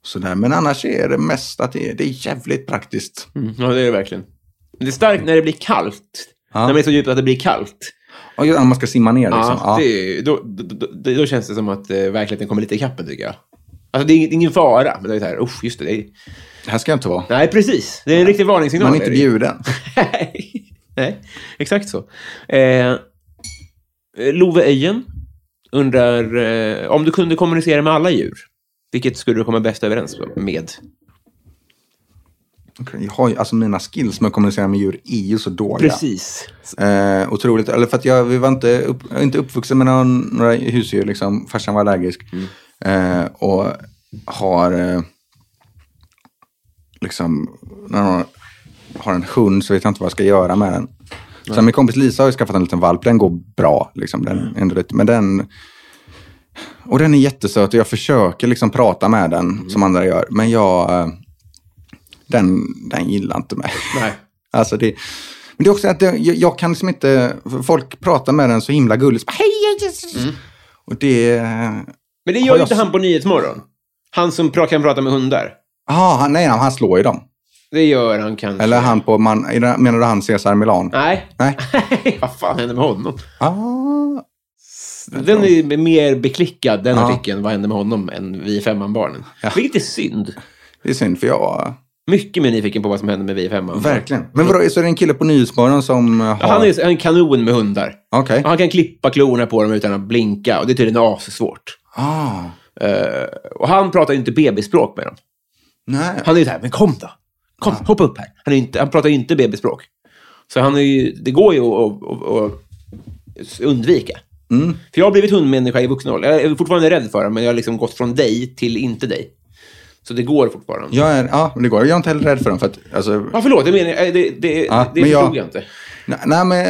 S3: sådär. Ehm, Men annars är det mest att det är, det är jävligt praktiskt.
S2: Mm, ja, det är det verkligen. Men det är starkt när det blir kallt.
S3: Ja.
S2: När man är så djupt att det blir kallt.
S3: Och just, om man ska simma ner liksom.
S2: Ja, det, är- då, då, då, då känns det som att eh, verkligheten kommer lite i kappen, tycker jag. Alltså, det är ingen- ingen fara, men det är så här, usch, just det. det är,
S3: Här ska jag inte vara.
S2: nej, precis. Det är en riktig varningssignal.
S3: Man är inte
S2: är det.
S3: bjuden.
S2: Nej. Nej, exakt så. Eh, Love Öjen undrar eh, om du kunde kommunicera med alla djur, vilket skulle du komma bäst överens med?
S3: Jag har ju, alltså mina skills med att kommunicera med djur är ju så dåliga.
S2: Precis.
S3: Eh, otroligt. Eller för att jag vi var inte, upp, jag är inte uppvuxen med någon, några husdjur. Liksom. Farsan var allergisk. Eh, och har... Eh, liksom, när någon har en hund så vet jag inte vad jag ska göra med den. Sen min kompis Lisa har ju skaffat en liten valp. Den går bra. Liksom. Den, är ändå lite, men den... Och den är jättesöt och jag försöker liksom prata med den som andra gör. Men jag... eh, Den, den gillar inte mig.
S2: Nej.
S3: Alltså det, men det är också att jag, jag kan liksom inte, folk pratar med den så himla gulligt. Så bara, Hej, hej, hej.
S2: Mm.
S3: Och det, eh,
S2: Men det
S3: Har
S2: gör
S3: jag
S2: ju inte
S3: s-
S2: han på Nyhetsmorgon. Han som pra- kan prata med hundar.
S3: ja, han, nej, han slår ju dem.
S2: Det gör han kanske.
S3: Eller han på, man, är det- menar du han Cesar Milan?
S2: Nej.
S3: Nej.
S2: Vad fan hände med honom?
S3: Ah,
S2: Den är mer beklickad, den
S3: Ja.
S2: artikeln, vad hände med honom, än vi i femman-barnen. Vilket är synd.
S3: det är synd för jag,
S2: Mycket mer nyfiken på vad som hände med vi i femman.
S3: verkligen. Men vadå, så är det en kille på Nyhetsmorgon som eh, har...
S2: Han är en kanon med hundar.
S3: Okej.
S2: Och Han kan klippa klorna på dem utan att blinka och det är tydligen assvårt.
S3: Ah,
S2: Eh, och han pratar ju inte bebisspråk med dem.
S3: nej.
S2: Han är ju så här, men kom då. Kom, hoppa upp här. Han, är inte, han pratar ju inte bebisspråk. Så han är ju, det går ju att, att, att undvika.
S3: Mm.
S2: För jag har blivit hundmänniska i vuxen ålder. Jag är fortfarande rädd för dem, men jag har liksom gått från dig till inte dig. Så det går fortfarande.
S3: Jag är, ja, men det går. Jag är inte heller rädd för dem för att, alltså,
S2: Ja, förlåt. Jag menar, eh, det, det,
S3: Ja,
S2: det
S3: men jag-
S2: förstod jag inte.
S3: Nej, nej, men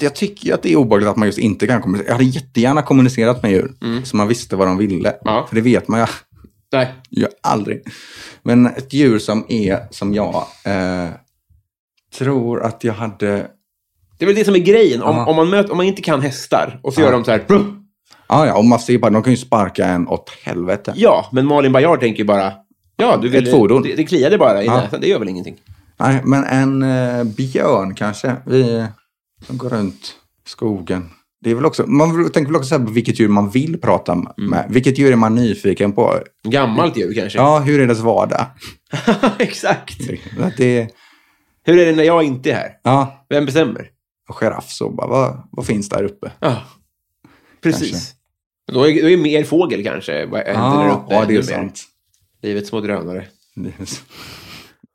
S3: jag tycker ju att det är obehagligt att man just inte kan kommunicera. Jag hade jättegärna kommunicerat med djur, så man visste vad de ville.
S2: Mm. Ja.
S3: För det vet man ju,
S2: Nej.
S3: ju aldrig. Men ett djur som är som jag, eh, tror att jag hade...
S2: Det är väl det som är grejen. Om,
S3: Ja.
S2: om, man, möter, om man inte kan hästar och så
S3: Ja.
S2: gör de så här... "Bruh!"
S3: Ah, ja, och man ser bara, de kan ju sparka en åt helvete.
S2: Ja, men Malin Baryard tänker ju bara... Ja, du ville,
S3: Ett fordon.
S2: Det, det kliade bara i
S3: Ja.
S2: näsan. Det gör väl ingenting.
S3: Nej, men en eh, björn kanske. Vi, som går runt skogen. Det är väl också, man vill- tänker väl också så här på vilket djur man vill prata med.
S2: Mm.
S3: Vilket djur är man nyfiken på?
S2: Gammalt djur kanske.
S3: Ja, hur är dess vardag?
S2: Exakt.
S3: Att det,
S2: Hur är det när jag inte är här?
S3: ja,
S2: Vem bestämmer?
S3: och giraff så bara, vad, vad finns där uppe?
S2: Ja, precis.
S3: Kanske. Ah,
S2: Då är, då är mer fågel kanske. Vad händer där uppe?
S3: ja, det är
S2: ännu mer.
S3: sant.
S2: Livets små drönare.
S3: Det är sant.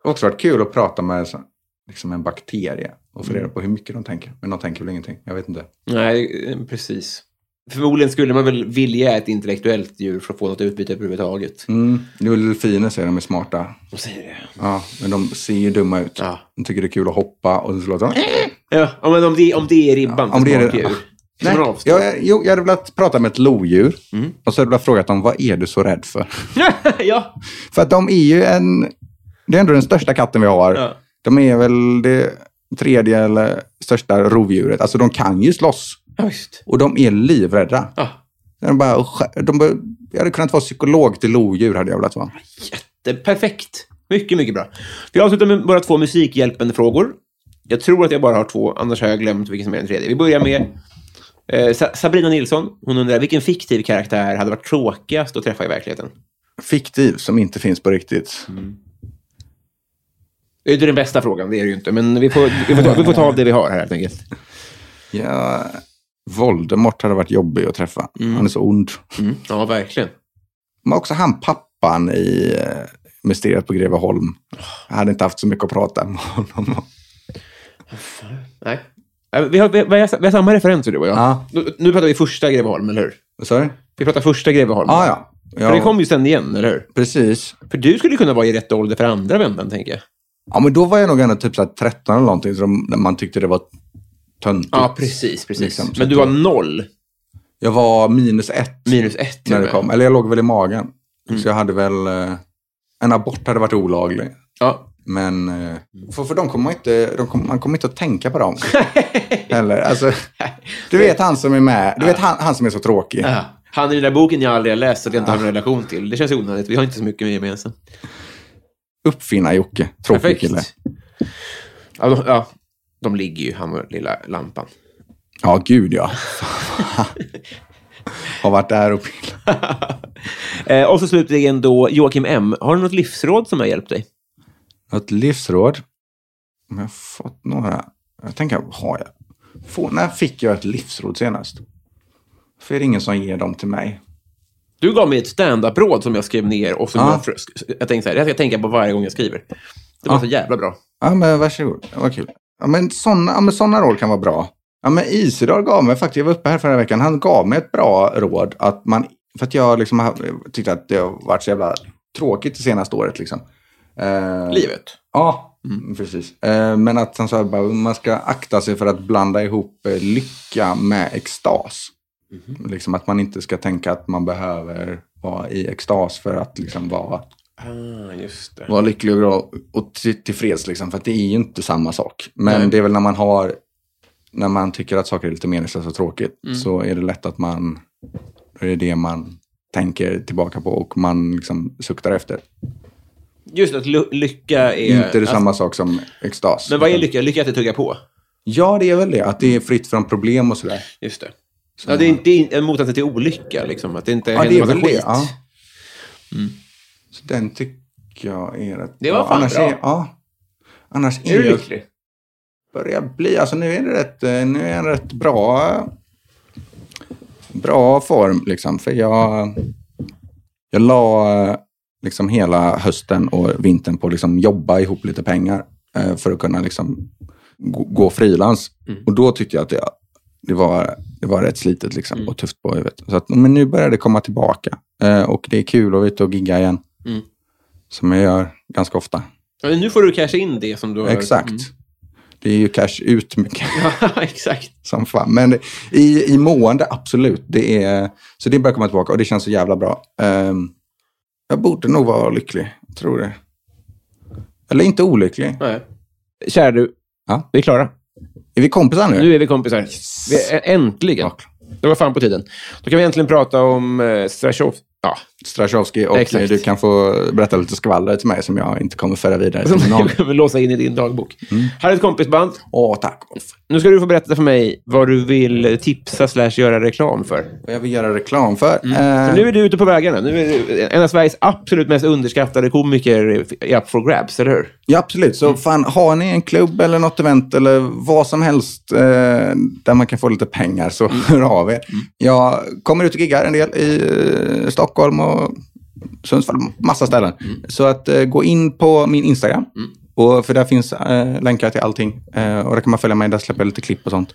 S3: också varit kul att prata med så- liksom en bakterie och få reda på hur mycket de tänker. Men de tänker väl ingenting, jag vet inte.
S2: Nej, eh, precis. Förmodligen skulle man väl vilja ett intellektuellt djur för att få något utbyte överhuvudtaget.
S3: Mm. Det är väl delfiner säger de är smarta.
S2: De säger det.
S3: Ja, men de ser ju dumma ut.
S2: Ja.
S3: De tycker det är kul att hoppa och så låter de...
S2: Ja, ja, men om det, om det är ribban
S3: om
S2: för
S3: det är det-
S2: smakdjur. Ska
S3: Nej,
S2: man avstå?
S3: jag, jo, jag hade velat prata med ett lodjur och så hade jag velat fråga dem, vad är du så rädd för?
S2: ja.
S3: För att de är ju en... Det är ändå den största katten vi har.
S2: Ja.
S3: De är väl det tredje eller största rovdjuret. Alltså de kan ju slåss.
S2: ja, just.
S3: Och de är livrädda.
S2: Ja.
S3: De bara, "Usch." de bara, jag hade kunnat vara psykolog till lodjur hade jag velat vara.
S2: Det är perfekt. Mycket, mycket bra. Vi avslutar med våra två musikhjälpande frågor. Jag tror att jag bara har två, annars har jag glömt vilken som är den tredje. Vi börjar med eh, Sa- Sabrina Nilsson. Hon undrar vilken fiktiv karaktär hade varit tråkigast att träffa i verkligheten?
S3: Fiktiv som inte finns på riktigt.
S2: Mm. Det är ju inte den bästa frågan, det är det ju inte. Men vi får, vi får, ta, vi får ta av det vi har här helt enkelt.
S3: Ja, Voldemort hade varit jobbig att träffa.
S2: Mm.
S3: Han är så ond.
S2: Ja, verkligen.
S3: Men också han pappan i eh, Mysteriet på Greveholm.
S2: Oh.
S3: Jag hade inte haft så mycket att prata med honom om.
S2: Nej. Eh, Vi har, vi, vi har, vi har samma referenser du och jag.
S3: Ja.
S2: Nu, nu pratar vi första Greveholm, eller hur?
S3: Vad sa du?
S2: Vi pratar första Greveholm.
S3: Ah, ja, ja.
S2: För det kom ju sen igen, eller hur?
S3: Precis.
S2: För du skulle kunna vara i rätt ålder för andra vändan, tänker jag.
S3: Ja, men då var jag nog ändå typ så här 13 eller någonting, så de, när man tyckte det var töntigt.
S2: Ja, precis. precis.
S3: Liksom, så
S2: men du
S3: att
S2: var noll,
S3: Jag var minus ett
S2: minus ett. Mm. till
S3: när
S2: och
S3: det
S2: med.
S3: kom. Eller jag låg väl i magen. Så jag hade väl... eh, En abort hade varit olaglig.
S2: Ja.
S3: Men... eh, För, för de kommer inte... De kommer, man kommer inte att tänka på dem. Eller, alltså, du vet han som är med. Du vet han, han som är så tråkig.
S2: Ja. Han i den där boken jag aldrig har läst, så att jag
S3: Ah.
S2: inte har någon relation till. Det känns onödigt. Vi har inte så mycket gemensamt.
S3: Uppfinnar-Jocke. Tråkig kille.
S2: Ja, de, ja, de ligger ju, han och lilla lampan.
S3: Ja, gud ja. Har varit där och pillat.
S2: Eh, och så slutligen då Joakim M. Har du något livsråd som har hjälpt dig?
S3: Något livsråd? Om jag har fått några? Jag tänker, har jag? Få, när fick jag ett livsråd senast? För är det ingen som ger dem till mig?
S2: Du gav mig ett stand-up-råd som jag skrev ner och som
S3: Ja.
S2: jag, frös- jag tänkte så här, det här ska jag tänka på varje gång jag skriver. Det var
S3: Ja.
S2: så jävla bra.
S3: Ja, men varsågod. Vad kul. Ja, men sådana ja, men såna råd kan vara bra. Ja, men Isidor gav mig faktiskt, jag var uppe här förra veckan, han gav mig ett bra råd. Att man, för att jag liksom har- tyckte att det har varit så jävla tråkigt det senaste året. Liksom. Eh,
S2: Livet.
S3: Ja,
S2: Mm.
S3: precis. Eh, men att han sa bara, man ska akta sig för att blanda ihop eh, lycka med extas.
S2: Mhm.
S3: Liksom att man inte ska tänka att man behöver vara i extas för att liksom vara
S2: Ah, just det.
S3: vara lycklig och bra och till- tillfreds liksom, för att det är ju inte samma sak. Men
S2: Nej.
S3: det är väl när man har, när man tycker att saker är lite meningslösa och tråkigt,
S2: Mm.
S3: så är det lätt att man, det är det man tänker tillbaka på och man liksom suktar efter.
S2: Just det, att ly- lycka är... alltså-
S3: inte det samma sak som extas.
S2: Men vad är lycka? Lycka är att det tuggar på.
S3: Ja, det är väl det, att det är fritt från problem och sådär.
S2: Just det. Ja, det, är, det är en motsats till olycka, liksom. Att det inte
S3: Ja,
S2: händer
S3: det är
S2: massa
S3: väl det.
S2: skit. Mm.
S3: Ja. Så den tycker jag är rätt
S2: Det var
S3: bra.
S2: fan
S3: Annars
S2: bra.
S3: Är, ja. Annars
S2: Är du
S3: jag-
S2: lycklig?
S3: börjar bli. Alltså nu är det rätt, eh, nu är jag rätt bra, bra form liksom. För jag, jag la eh, liksom hela hösten och vintern på att liksom jobba ihop lite pengar eh, för att kunna liksom gå, gå frilans.
S2: Mm.
S3: Och då tyckte jag att det, det, var, det var rätt slitet liksom
S2: Mm.
S3: och tufft på huvudet. Så att, men nu börjar det komma tillbaka. Eh, och det är kul att vara ute och gigga igen.
S2: Mm.
S3: Som jag gör ganska ofta.
S2: Ja, men nu får du casha in det som du har...
S3: Exakt.
S2: Mm.
S3: Det är ju cash ut mycket
S2: Ja, exakt.
S3: som fan. Men i, i mående, absolut. Det är, så det börjar komma tillbaka och det känns så jävla bra. Ehm, jag borde nog vara lycklig, jag tror det. Eller inte olycklig.
S2: Nej. Kära du,
S3: Ja.
S2: vi är klara.
S3: Är vi kompisar nu?
S2: Nu är vi kompisar. Vi är, äntligen.
S3: Ja.
S2: Det var fan på tiden. Då kan vi äntligen prata om eh, Strachov. Ja,
S3: Strachowski och
S2: Exakt.
S3: du kan få berätta lite skvaller till mig som jag inte kommer föra vidare
S2: som
S3: till min
S2: du
S3: någon.
S2: behöver låsa in i din dagbok.
S3: Mm.
S2: Här är ett kompisband.
S3: Åh, tack.
S2: Nu ska du få berätta för mig vad du vill tipsa slash göra reklam för.
S3: Vad jag vill göra reklam för. Ehm,
S2: För nu är du ute på vägarna. Nu är du en av Sveriges absolut mest underskattade komiker i up for grabs, eller hur?
S3: Ja, absolut.
S2: Mm.
S3: Så fan, har ni en klubb eller något event eller vad som helst eh, där man kan få lite pengar så
S2: Mm.
S3: hör av er. Jag kommer ut och giggar en del i eh, Stockholm och Sundsvall, massa ställen.
S2: Mm.
S3: Så att eh, gå in på min Instagram. Och, för där finns eh, länkar till allting. Eh, och där kan man följa mig, där släpper jag lite klipp och sånt.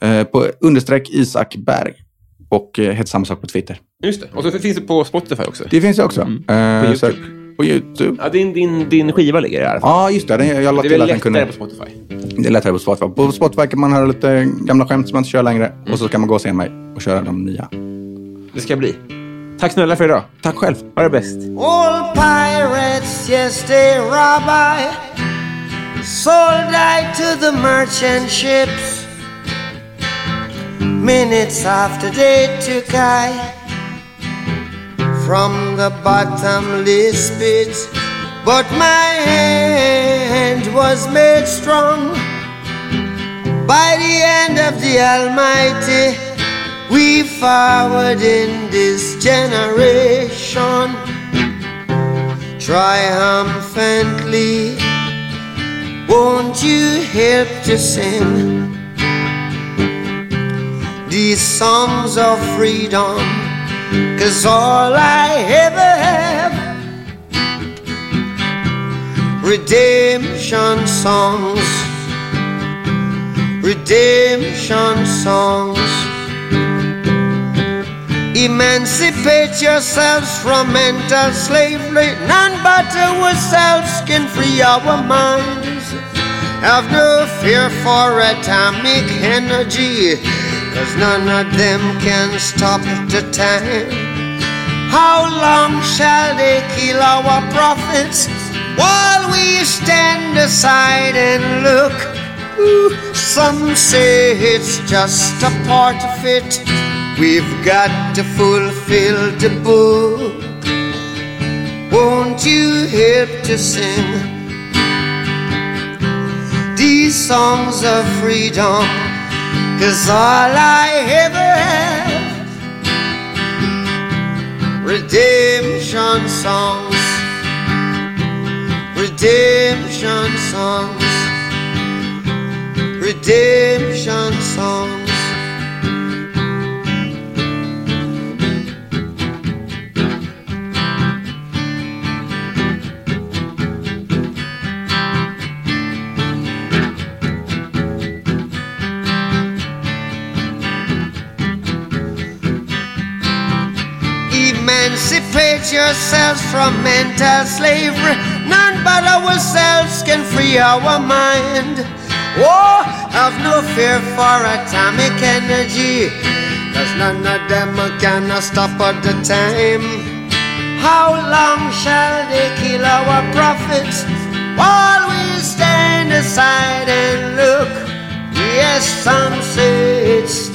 S3: Eh, på understreck Isak Berg. Och eh, heter samma sak på Twitter.
S2: Just det. Och så finns det på Spotify också.
S3: Det finns jag också. Eh,
S2: Mm. På
S3: så- på YouTube.
S2: Ja, din, din, din skiva ligger där i alla fall.
S3: Ja, just det. Den- Jag la
S2: det är
S3: till
S2: väl
S3: att den
S2: lättare
S3: kunde...
S2: på Spotify.
S3: Det är lättare på Spotify. På Spotify kan man höra lite gamla skämt som man inte kör längre. Och så kan man gå och se mig och köra de nya.
S2: Det ska bli. Tack snälla för idag.
S3: Tack själv.
S2: Ha det bäst.
S9: Old pirates, yes, they rob I. Sold I to the merchant ships. Minutes after they took I from the bottomless pit. But my hand was made strong by the hand of the Almighty. We forward in this generation triumphantly. Won't you help to sing these songs of freedom? Cause all I ever have, redemption songs, redemption songs. Emancipate yourselves from mental slavery. None but ourselves can free our minds. Have no fear for atomic energy, cause none of them can stop the time. How long shall they kill our prophets while we stand aside and look? Ooh, some say it's just a part of it. We've got to fulfill the book. Won't you help to sing these songs of freedom? Cause all I ever have, redemption songs, redemption songs, redemption songs. Emancipate yourselves from mental slavery. None but ourselves can free our mind. Oh, have no fear for atomic energy. Cause none of them can stop at the time. How long shall they kill our prophets? While we stand aside and look. Yes, some say it's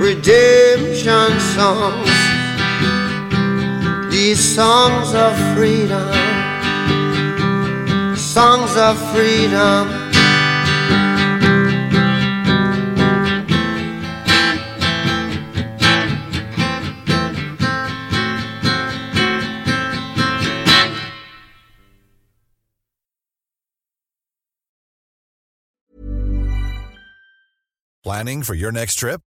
S9: redemption songs, these songs of freedom, songs of freedom.
S10: Planning for your next trip?